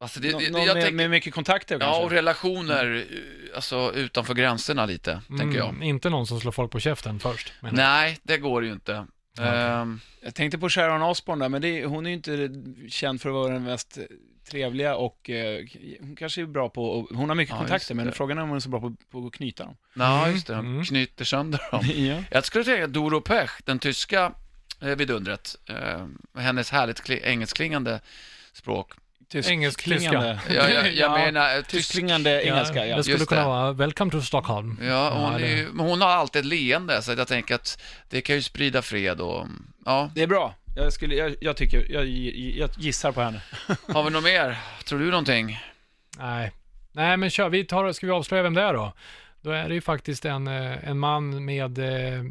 [SPEAKER 3] Alltså, det,
[SPEAKER 4] Nå-
[SPEAKER 3] det,
[SPEAKER 4] Någon
[SPEAKER 3] jag
[SPEAKER 4] med,
[SPEAKER 3] tänker,
[SPEAKER 4] med mycket kontakter
[SPEAKER 3] ja,
[SPEAKER 4] kanske?
[SPEAKER 3] och relationer eh, alltså, utanför gränserna lite, tänker jag.
[SPEAKER 2] Mm, inte någon som slår folk på käften först. menar jag.
[SPEAKER 3] Nej, det går ju inte. Ehm,
[SPEAKER 4] Jag tänkte på Sharon Osbourne där, men det, är- hon är ju inte känd för att vara den mest eh, trevliga och eh, hon kanske är bra på, hon har mycket
[SPEAKER 3] Ja, just
[SPEAKER 4] kontakter, men
[SPEAKER 3] det.
[SPEAKER 4] frågan är om hon är så bra på, på att
[SPEAKER 3] [laughs]
[SPEAKER 4] knyta dem.
[SPEAKER 3] Nej, just det.
[SPEAKER 2] Mm.
[SPEAKER 3] Knyter sönder dem.
[SPEAKER 4] Ja.
[SPEAKER 3] Jag skulle säga Doro Pech, den tyska eh, vidundret. Eh, hennes härligt kli- engelskklingande
[SPEAKER 2] [laughs]
[SPEAKER 3] språk.
[SPEAKER 4] Tysk,
[SPEAKER 2] Engelskklingande.
[SPEAKER 4] klingande.
[SPEAKER 3] Jag,
[SPEAKER 4] [laughs]
[SPEAKER 3] jag, jag menar, eh, tysk...
[SPEAKER 4] Tyskklingande engelska, ja.
[SPEAKER 2] Det skulle
[SPEAKER 3] Just
[SPEAKER 2] kunna
[SPEAKER 3] det.
[SPEAKER 2] vara “Welcome to Stockholm”.
[SPEAKER 3] Ja, hon,
[SPEAKER 2] Ja, det-
[SPEAKER 3] är ju, men hon har alltid ett leende, så jag tänker att det kan ju sprida fred och... Ja,
[SPEAKER 4] Det är bra. Jag, skulle, jag, jag tycker, jag, jag gissar på henne.
[SPEAKER 3] har vi något mer? Tror du någonting?
[SPEAKER 2] Nej. Nej, men kör. Vi tar, ska vi avslöja vem det är då? Då är det ju faktiskt en, eh, en man med... eh,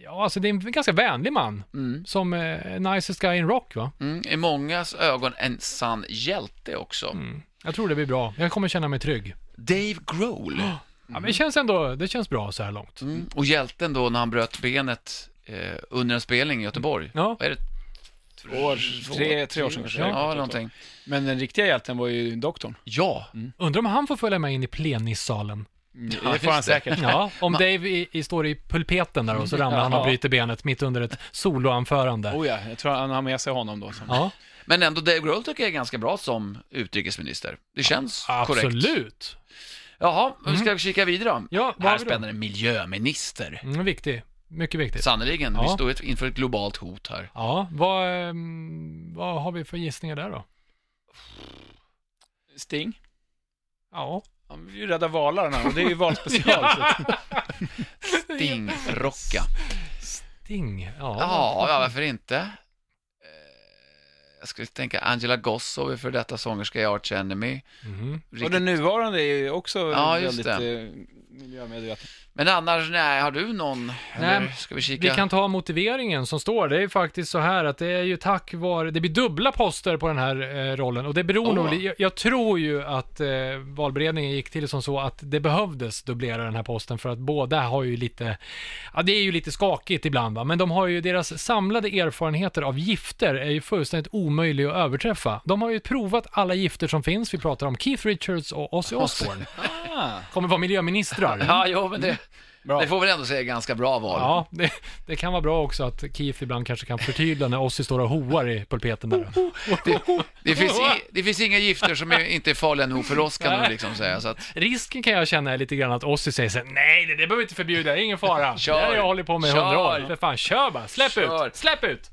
[SPEAKER 2] Ja, alltså det är en ganska vänlig man.
[SPEAKER 3] Mm.
[SPEAKER 2] Som eh, nicest guy in rock, va?
[SPEAKER 3] Mm, I mångas ögon en sann hjälte också.
[SPEAKER 2] Jag tror det blir bra. Jag kommer känna mig trygg.
[SPEAKER 3] Dave
[SPEAKER 2] [gasps]
[SPEAKER 3] Grohl.
[SPEAKER 2] Ja, men det känns ändå... Det känns bra så här långt.
[SPEAKER 3] Mm. Och hjälten då när han bröt benet eh, under en spelning i Göteborg.
[SPEAKER 2] Ja.
[SPEAKER 3] Vad är det?
[SPEAKER 4] År, tre, tre år sedan kanske.
[SPEAKER 3] Ja, någonting.
[SPEAKER 4] Men den riktiga hjälten var ju doktorn.
[SPEAKER 3] Ja,
[SPEAKER 2] Undrar om han får följa med in i plenissalen.
[SPEAKER 4] det
[SPEAKER 3] just
[SPEAKER 4] får han
[SPEAKER 3] det.
[SPEAKER 4] säkert.
[SPEAKER 2] [laughs] Ja, om Dave i, i, står i pulpeten där och så ramlar han och
[SPEAKER 4] Ja.
[SPEAKER 2] bryter benet mitt under ett soloanförande.
[SPEAKER 4] Oh ja, jag tror han har med sig honom då. Som.
[SPEAKER 2] Ja,
[SPEAKER 3] men ändå Dave Grohl tycker jag är ganska bra som utrikesminister. Det känns korrekt.
[SPEAKER 2] absolut.
[SPEAKER 3] Jaha, hur ska vi kika vidare då?
[SPEAKER 2] Mm. Ja, vad har
[SPEAKER 3] Här
[SPEAKER 2] vi då?
[SPEAKER 3] spänner en miljöminister.
[SPEAKER 2] Mm, viktig. Mycket viktigt.
[SPEAKER 3] Sannerligen, vi
[SPEAKER 2] Ja.
[SPEAKER 3] står ett- inför ett globalt hot här.
[SPEAKER 2] Ja, vad, ehm, vad har vi för gissningar där då?
[SPEAKER 4] Sting.
[SPEAKER 2] Ja.
[SPEAKER 4] Han vill ju rädda valarna och det är
[SPEAKER 3] [laughs]
[SPEAKER 4] ju valspecial. så att-
[SPEAKER 3] Stingrocka.
[SPEAKER 2] Sting. Ja,
[SPEAKER 3] Ja, ja, varför inte? Eh, Jag skulle tänka Angela Gossow, är för detta sångerska i Arch Enemy.
[SPEAKER 2] Mhm.
[SPEAKER 4] Och
[SPEAKER 3] Riktigt-
[SPEAKER 4] den nuvarande är ju också
[SPEAKER 3] Ja, just
[SPEAKER 4] väldigt
[SPEAKER 3] det.
[SPEAKER 4] eh, miljömedveten.
[SPEAKER 3] Men annars, nej, har du någon? Eller
[SPEAKER 2] Nej,
[SPEAKER 3] ska vi kika?
[SPEAKER 2] Vi kan ta motiveringen som står. Det är ju faktiskt så här att det är ju tack vare, det blir dubbla poster på den här eh, rollen och det beror
[SPEAKER 3] Åh.
[SPEAKER 2] nog, jag, jag tror ju att eh, valberedningen gick till som så att det behövdes dubblera den här posten för att båda har ju lite, ja det är ju lite skakigt ibland va, men de har ju, deras samlade erfarenheter av gifter är ju fullständigt omöjliga att överträffa. De har ju provat alla gifter som finns, vi pratar om Keith Richards och Ozzy Osbourne.
[SPEAKER 3] Ah.
[SPEAKER 2] Kommer vara miljöministrar.
[SPEAKER 3] [laughs] Ja, jo, men det,
[SPEAKER 4] Bra.
[SPEAKER 3] det får väl ändå säga ganska bra val.
[SPEAKER 2] Mm. Ja, det, det kan vara bra också att Keith ibland kanske kan förtydliga när Ozzy står och hoar i pulpeten där.
[SPEAKER 3] Oh, Det, det, finns i, det finns inga gifter som är, inte är farliga nog för oss, kan man liksom säga. Så att,
[SPEAKER 2] Risken kan jag känna är lite grann att Ozzy säger så här, nej det, det behöver vi inte förbjuda, ingen fara.
[SPEAKER 3] [laughs] Kör.
[SPEAKER 2] Det har jag hållit på med i
[SPEAKER 3] Kör.
[SPEAKER 2] hundra år. För fan, kör bara, släpp
[SPEAKER 3] Kör.
[SPEAKER 2] ut, släpp ut.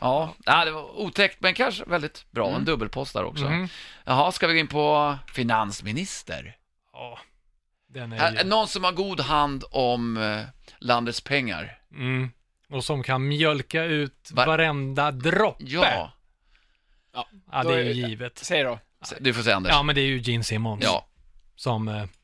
[SPEAKER 3] ja, ja, det var otäckt, men kanske väldigt bra.
[SPEAKER 2] Mm.
[SPEAKER 3] En dubbelpost där också.
[SPEAKER 2] Mm-hmm.
[SPEAKER 3] Jaha, ska vi gå in på finansminister?
[SPEAKER 2] Ja, den är
[SPEAKER 3] Här,
[SPEAKER 2] ju...
[SPEAKER 3] någon som har god hand om eh, landets pengar?
[SPEAKER 2] Mm. Och som kan mjölka ut
[SPEAKER 3] Va-
[SPEAKER 2] varenda droppe.
[SPEAKER 3] Ja,
[SPEAKER 2] ja det är ju
[SPEAKER 4] Då är-
[SPEAKER 2] givet.
[SPEAKER 4] Säg då.
[SPEAKER 3] du får säga Anders.
[SPEAKER 2] Ja, men det är ju Gene Simmons
[SPEAKER 3] Ja.
[SPEAKER 2] som... eh, [laughs]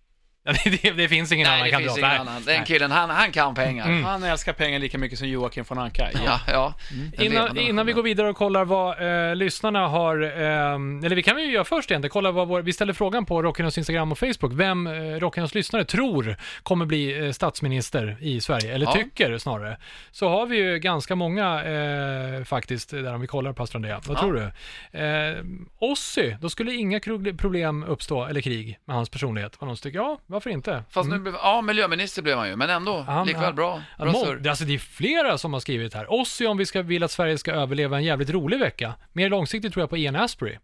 [SPEAKER 2] Ja, det, det, det finns ingen annan
[SPEAKER 3] Nej, det
[SPEAKER 2] kandidat.
[SPEAKER 3] finns ingen
[SPEAKER 2] Nej. Mm.
[SPEAKER 3] annan. Den killen, han, han kan pengar.
[SPEAKER 4] Han älskar pengar lika mycket som Joakim von Anka.
[SPEAKER 3] Ja, ja. Den
[SPEAKER 2] Mm. Innan,
[SPEAKER 3] levande
[SPEAKER 2] innan vi
[SPEAKER 3] versionen.
[SPEAKER 2] går vidare och kollar vad eh, lyssnarna har, ehm, eller vi kan ju göra först egentligen, kolla vad vår, vi ställer frågan på Rockarnas Instagram och Facebook, vem eh, Rockarnas lyssnare tror kommer bli eh, statsminister i Sverige, eller
[SPEAKER 3] Ja.
[SPEAKER 2] tycker snarare. Så har vi ju ganska många eh, faktiskt, där om vi kollar pastor Andrea, vad tror du? Eh, Ossi, då skulle inga krog- problem uppstå, eller krig, med hans personlighet. Var någon som tycker, ja, varför inte?
[SPEAKER 3] Fast nu blev, ja, miljöminister blev han ju, men ändå,
[SPEAKER 2] Han-
[SPEAKER 3] likväl
[SPEAKER 2] han-
[SPEAKER 3] bra.
[SPEAKER 2] Mm. Ja,
[SPEAKER 3] Bra
[SPEAKER 2] må,
[SPEAKER 3] surr.
[SPEAKER 2] det- alltså det är flera som har skrivit här. Ossi om vi ska, vill att Sverige ska överleva en jävligt rolig vecka. Mer långsiktigt tror jag på Ian Asprey. Ja.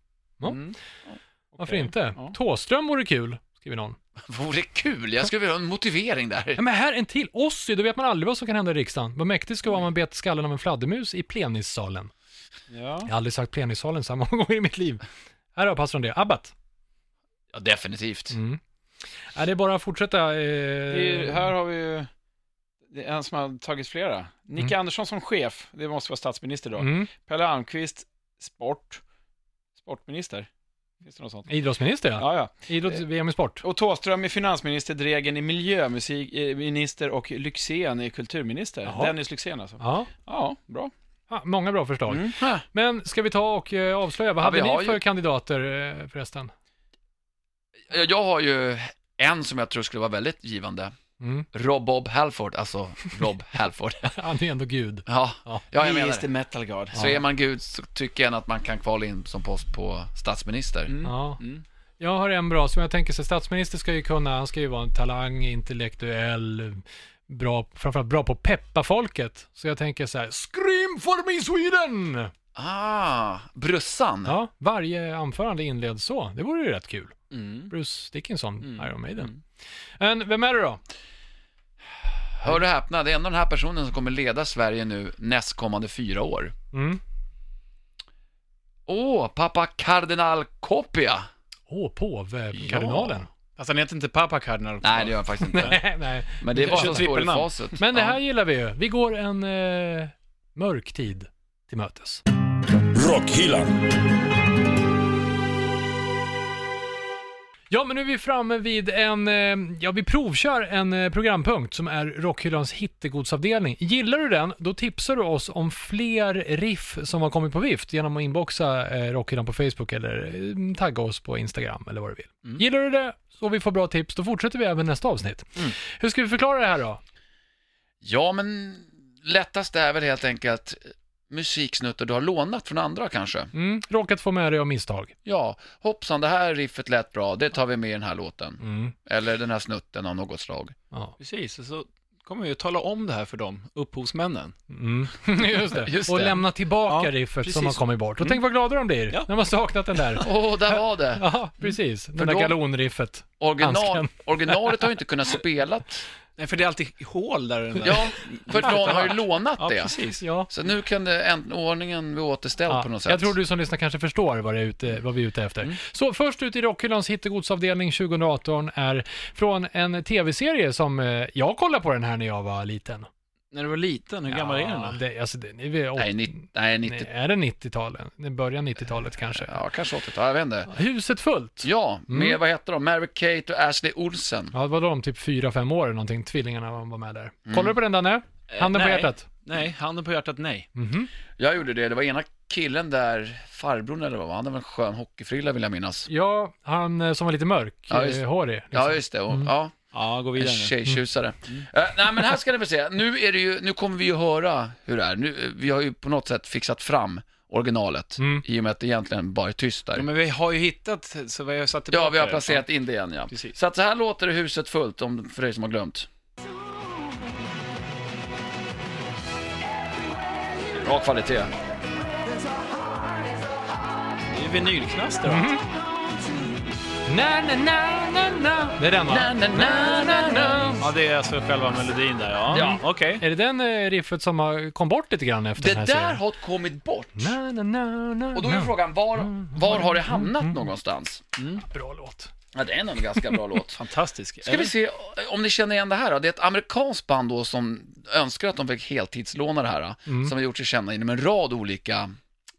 [SPEAKER 2] Varför
[SPEAKER 4] Mm. Okej.
[SPEAKER 2] inte?
[SPEAKER 4] Ja.
[SPEAKER 2] Thåström vore kul, skriver någon.
[SPEAKER 3] Vore kul, jag skulle vilja ha en motivering där.
[SPEAKER 2] [laughs] Ja, men här en till. Ossi, då vet man aldrig vad som kan hända i riksdagen. Vad mäktigt ska vara om man bet skallen av en fladdermus i plenissalen.
[SPEAKER 4] Ja.
[SPEAKER 2] Jag har aldrig sagt plenissalen så här många [laughs] gånger i mitt liv. Här har pastorn det. Abbat.
[SPEAKER 3] Ja, definitivt.
[SPEAKER 2] Mm. Ja, det är bara att fortsätta. Eh...
[SPEAKER 4] Det är, ju- här har vi ju det är en som har tagit flera. Nicke
[SPEAKER 3] Mm.
[SPEAKER 4] Andersson som chef, det måste vara statsminister då.
[SPEAKER 2] mm.
[SPEAKER 4] Pelle Almqvist, sport. Sportminister? Finns det något sånt?
[SPEAKER 2] Idrottsminister ja.
[SPEAKER 4] Ja, ja.
[SPEAKER 2] Idrotts-VM i sport.
[SPEAKER 4] Och Thåström är finansminister, Dregen är miljöminister och Lyxzén är kulturminister.
[SPEAKER 2] Jaha.
[SPEAKER 4] Dennis Lyxzén alltså.
[SPEAKER 2] Ja.
[SPEAKER 4] Ja, bra.
[SPEAKER 2] Ja, Ah, många bra förslag.
[SPEAKER 4] Mm.
[SPEAKER 3] Huh.
[SPEAKER 2] Men ska vi ta och eh, avslöja, vad
[SPEAKER 3] Ja, vi
[SPEAKER 2] hade
[SPEAKER 3] har
[SPEAKER 2] ni
[SPEAKER 3] ju-
[SPEAKER 2] för kandidater eh, förresten? [laughs]
[SPEAKER 3] Jag- Eh, Jag har ju en som jag tror skulle vara väldigt givande.
[SPEAKER 2] Mm.
[SPEAKER 3] Rob Bob Halford, alltså
[SPEAKER 2] [laughs]
[SPEAKER 3] Rob Halford.
[SPEAKER 2] Han är ju ändå gud.
[SPEAKER 4] Mm.
[SPEAKER 3] Ja, ja
[SPEAKER 2] Ja.
[SPEAKER 3] jag
[SPEAKER 4] He
[SPEAKER 3] menar
[SPEAKER 4] is the
[SPEAKER 3] det.
[SPEAKER 4] metal god.
[SPEAKER 3] Så är man gud så tycker jag att man kan kvala in som post på statsminister.
[SPEAKER 4] Mm.
[SPEAKER 2] Ja.
[SPEAKER 4] Mm.
[SPEAKER 2] Jag har en bra som jag tänker sig, statsminister ska ju kunna, han ska ju vara en talang, intellektuell, bra, framförallt bra på att peppa folket. Så jag tänker så här, Scream for me
[SPEAKER 4] Mm.
[SPEAKER 2] Sweden!
[SPEAKER 3] Ah, brussan.
[SPEAKER 2] Ja, varje anförande inleds så. Det vore ju rätt kul.
[SPEAKER 4] Mm.
[SPEAKER 2] Bruce Dickinson, Iron Maiden.
[SPEAKER 4] Mm.
[SPEAKER 2] Men vem är det då?
[SPEAKER 3] Hör och häpna, det är ändå den här personen som kommer leda Sverige nu nästkommande fyra år.
[SPEAKER 2] Mm.
[SPEAKER 3] Åh, pappa kardinal Kopia.
[SPEAKER 2] Åh, påvkardinalen.
[SPEAKER 4] Fast han heter inte Papa Cardinal.
[SPEAKER 3] Nej, det gör jag faktiskt inte.
[SPEAKER 2] Nej, [laughs] nej.
[SPEAKER 3] Men det är vad som står i
[SPEAKER 4] Trippelnamn.
[SPEAKER 3] facit.
[SPEAKER 2] Men det här
[SPEAKER 3] Ja.
[SPEAKER 2] gillar vi ju. Vi går en eh, mörk tid till mötes.
[SPEAKER 1] Rockhyllan.
[SPEAKER 2] Ja, men nu är vi framme vid en, eh, ja vi provkör en eh, programpunkt som är Rockhyllans hittegodsavdelning. Gillar du den, då tipsar du oss om fler riff som har kommit på vift genom att inboxa eh, Rockhyllan på Facebook eller eh, tagga oss på Instagram eller vad du vill. Gillar du det så vi får bra tips, då fortsätter vi även nästa avsnitt. Hur ska vi förklara det här då?
[SPEAKER 3] Ja, men lättast är väl helt enkelt musiksnuttar du har lånat från andra kanske.
[SPEAKER 2] Mm, råkat få med dig av misstag.
[SPEAKER 3] Ja, hoppsan, det här riffet lät bra, det tar vi med i den här låten.
[SPEAKER 2] Mm,
[SPEAKER 3] Eller den här snutten av något slag.
[SPEAKER 2] ja.
[SPEAKER 4] Precis, och så kommer vi att tala om det här för dem, upphovsmännen.
[SPEAKER 2] Mm. [laughs] Just det.
[SPEAKER 3] Just
[SPEAKER 2] och
[SPEAKER 3] det.
[SPEAKER 2] lämna tillbaka
[SPEAKER 4] Ja,
[SPEAKER 2] riffet som
[SPEAKER 4] precis
[SPEAKER 2] har
[SPEAKER 4] så.
[SPEAKER 2] kommit bort. Och tänk vad glada de blir
[SPEAKER 4] Ja.
[SPEAKER 2] när man saknat den
[SPEAKER 4] [laughs]
[SPEAKER 2] där.
[SPEAKER 3] Åh, där
[SPEAKER 2] [laughs]
[SPEAKER 3] var det.
[SPEAKER 2] Ja, precis. Den
[SPEAKER 3] För
[SPEAKER 2] där
[SPEAKER 3] då-
[SPEAKER 2] galonriffet.
[SPEAKER 3] Original,
[SPEAKER 2] Handsken.
[SPEAKER 3] originalet har ju inte kunnat spelat.
[SPEAKER 4] Nej, för det är alltid hål där. i Den där.
[SPEAKER 3] Ja, för någon har ju lånat
[SPEAKER 4] ja
[SPEAKER 3] det.
[SPEAKER 4] precis.
[SPEAKER 2] Ja.
[SPEAKER 3] Så nu kan det, änt- ordningen bli återställd
[SPEAKER 2] Ja,
[SPEAKER 3] på något sätt.
[SPEAKER 2] jag tror du som lyssnar kanske förstår vad, det är ute, vad vi är ute efter.
[SPEAKER 4] Mm.
[SPEAKER 2] Så först ut i Rockhyllans hittegodsavdelning 2018 är från en tv-serie som eh, jag kollade på den här när jag var liten.
[SPEAKER 4] När du var liten, hur gammal är den då?
[SPEAKER 2] Ja, det, alltså, det, är väl åt-
[SPEAKER 3] Nej, ni, nej 90,
[SPEAKER 2] nej, är det 90-talen? Det börjar 90-talet kanske.
[SPEAKER 3] ja kanske 80 ja, jag vet inte.
[SPEAKER 2] Huset fullt.
[SPEAKER 3] Ja, med,
[SPEAKER 2] Mm.
[SPEAKER 3] vad heter de, Mary-Kate och Ashley Olsen.
[SPEAKER 2] Ja, det var de typ 4-5 år eller någonting, tvillingarna var var med där.
[SPEAKER 3] Mm.
[SPEAKER 2] Kollar du på den Danne?
[SPEAKER 3] Eh,
[SPEAKER 2] Handen på
[SPEAKER 4] nej.
[SPEAKER 2] hjärtat?
[SPEAKER 4] Nej, handen på hjärtat, nej.
[SPEAKER 2] Mhm.
[SPEAKER 3] Jag gjorde det, det var ena killen där, farbrorn eller vad var han, hade väl en skön hockeyfrilla vill jag minnas.
[SPEAKER 2] Ja, han eh, som var lite mörk,
[SPEAKER 3] Ja, just-
[SPEAKER 2] eh, hårig. Liksom.
[SPEAKER 3] Ja, just det. Och, Ja,
[SPEAKER 4] Ja, gå
[SPEAKER 3] en
[SPEAKER 4] vidare nu.
[SPEAKER 3] tjejtjusare. Eh, nej, men här ska ni få se. Nu, är det ju, nu kommer vi ju höra hur det är. Nu, eh, vi har ju på något sätt fixat fram originalet,
[SPEAKER 2] Mm.
[SPEAKER 3] i och med att det egentligen bara är tyst där.
[SPEAKER 4] Ja, men vi har ju hittat, så vi har satt tillbaka
[SPEAKER 3] Ja, vi har
[SPEAKER 4] det.
[SPEAKER 3] placerat in det igen ja.
[SPEAKER 4] Precis.
[SPEAKER 3] Så att så här låter det huset fullt om, för dig som har glömt. Bra kvalitet.
[SPEAKER 4] Ja, Det är vinylknaster,
[SPEAKER 3] Mhm.
[SPEAKER 4] va?
[SPEAKER 2] Na, na, na, na, na. Det är den va?
[SPEAKER 3] Na, na, na, na, na.
[SPEAKER 4] Ja, det är alltså själva melodin där, ja.
[SPEAKER 3] Ja.
[SPEAKER 4] Okej.
[SPEAKER 2] Är det den eh, riffet som har- kom bort lite grann efter
[SPEAKER 3] Det
[SPEAKER 2] den här Mm.
[SPEAKER 3] där
[SPEAKER 2] serien?
[SPEAKER 3] har kommit bort.
[SPEAKER 2] Na, na, na, na,
[SPEAKER 3] Och då är
[SPEAKER 2] na.
[SPEAKER 3] frågan, var, var har det hamnat någonstans?
[SPEAKER 2] Bra låt.
[SPEAKER 3] Ja, det är nog en ganska bra [laughs] låt.
[SPEAKER 4] Fantastisk.
[SPEAKER 3] Ska vi se om ni känner igen det här då? Det är ett amerikanskt band då som önskar att de fick heltidslåna det här. Då,
[SPEAKER 2] Mm.
[SPEAKER 3] Som har gjort sig kända genom en rad olika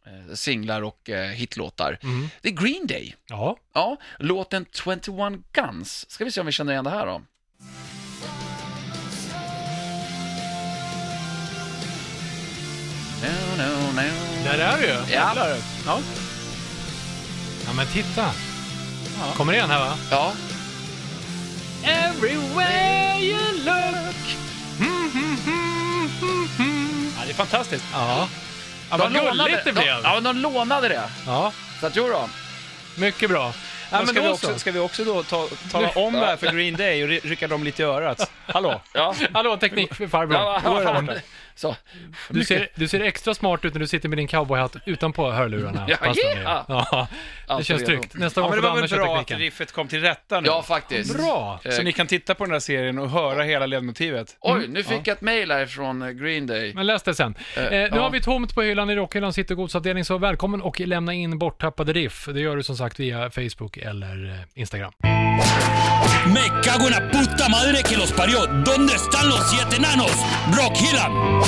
[SPEAKER 3] eh, singlar och eh, hitlåtar.
[SPEAKER 2] Mm.
[SPEAKER 3] Det är Green Day.
[SPEAKER 2] Ja.
[SPEAKER 3] Ja, låten 21 Guns. Ska vi se om vi känner igen det här då. No, no, no.
[SPEAKER 2] Där är du ju.
[SPEAKER 3] Ja,
[SPEAKER 4] Jävlar. Ja.
[SPEAKER 2] Ja, men titta. Kommer det igen här va?
[SPEAKER 3] ja.
[SPEAKER 2] Everywhere you look.
[SPEAKER 4] ja, det är fantastiskt.
[SPEAKER 2] Ja. ja vad lulligt det
[SPEAKER 3] de,
[SPEAKER 2] blev.
[SPEAKER 3] ja, men de lånade det.
[SPEAKER 2] Ja,
[SPEAKER 3] Så att, jo då.
[SPEAKER 2] mycket bra. Ja,
[SPEAKER 4] Men
[SPEAKER 2] men
[SPEAKER 4] ska, vi
[SPEAKER 2] då
[SPEAKER 4] också,
[SPEAKER 2] så.
[SPEAKER 4] ska vi också då ta, tala om det här för Green Day och ry- rycka dem lite i örat? Hallå?
[SPEAKER 3] Ja.
[SPEAKER 2] Hallå teknikfarbror.
[SPEAKER 3] Så.
[SPEAKER 2] Du ser, du ser extra smart ut när du sitter med din cowboyhatt utanpå hörlurarna.
[SPEAKER 3] Ja,
[SPEAKER 2] fast de är-
[SPEAKER 3] yeah!
[SPEAKER 2] ja. Det
[SPEAKER 3] Alltid
[SPEAKER 2] känns
[SPEAKER 3] redo.
[SPEAKER 2] tryggt. Nästa
[SPEAKER 4] Ja,
[SPEAKER 2] gång
[SPEAKER 4] men det
[SPEAKER 2] får
[SPEAKER 4] var
[SPEAKER 2] Danne
[SPEAKER 4] väl
[SPEAKER 2] köra
[SPEAKER 4] bra att
[SPEAKER 2] tekniken.
[SPEAKER 4] riffet kom till rätta nu?
[SPEAKER 3] Ja, faktiskt.
[SPEAKER 2] Bra.
[SPEAKER 3] Eh,
[SPEAKER 4] Så ni kan titta på den här serien och höra hela ledmotivet?
[SPEAKER 3] Oj, nu fick jag ett mail här från eh, Green Day.
[SPEAKER 2] Mm, Men läs det sen. Eh, nu
[SPEAKER 3] ja.
[SPEAKER 2] har vi tomt på hyllan i Rockhyllans hittegodsavdelning, så välkommen och lämna in borttappade riff. Det gör du som sagt via Facebook eller eh, Instagram.
[SPEAKER 1] Me cago en la puta madre que los parió. ¿Dónde están los siete enanos? Rock Hillan.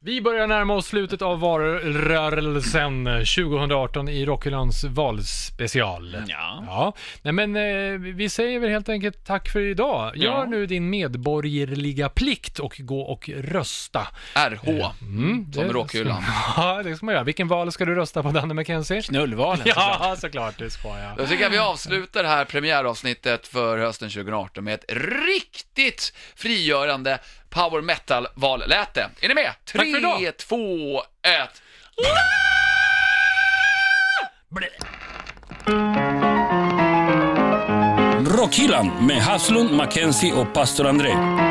[SPEAKER 2] Vi börjar närma oss slutet av valrörelsen 2018 i Rockhyllans valspecial.
[SPEAKER 4] Ja.
[SPEAKER 2] Ja, nej men eh, vi säger väl helt enkelt tack för idag. Gör
[SPEAKER 4] Ja.
[SPEAKER 2] nu din medborgerliga plikt och gå och rösta.
[SPEAKER 3] RH,
[SPEAKER 2] Mm.
[SPEAKER 3] som
[SPEAKER 2] det-
[SPEAKER 3] rockhyllan.
[SPEAKER 2] [laughs] Ja, det ska man göra. Vilken val ska du rösta på, Danne McKenzie?
[SPEAKER 4] Knullvalen
[SPEAKER 2] Ja, såklart, det ska jag.
[SPEAKER 3] [laughs] Då tycker jag vi avslutar det här premiäravsnittet för hösten 2018 med ett riktigt frigörande power metal-valläte. Är ni med?
[SPEAKER 2] för idag.
[SPEAKER 3] 3, 2, 1.
[SPEAKER 1] Rock Hillan med Haslund, Mackenzie o Pastor André.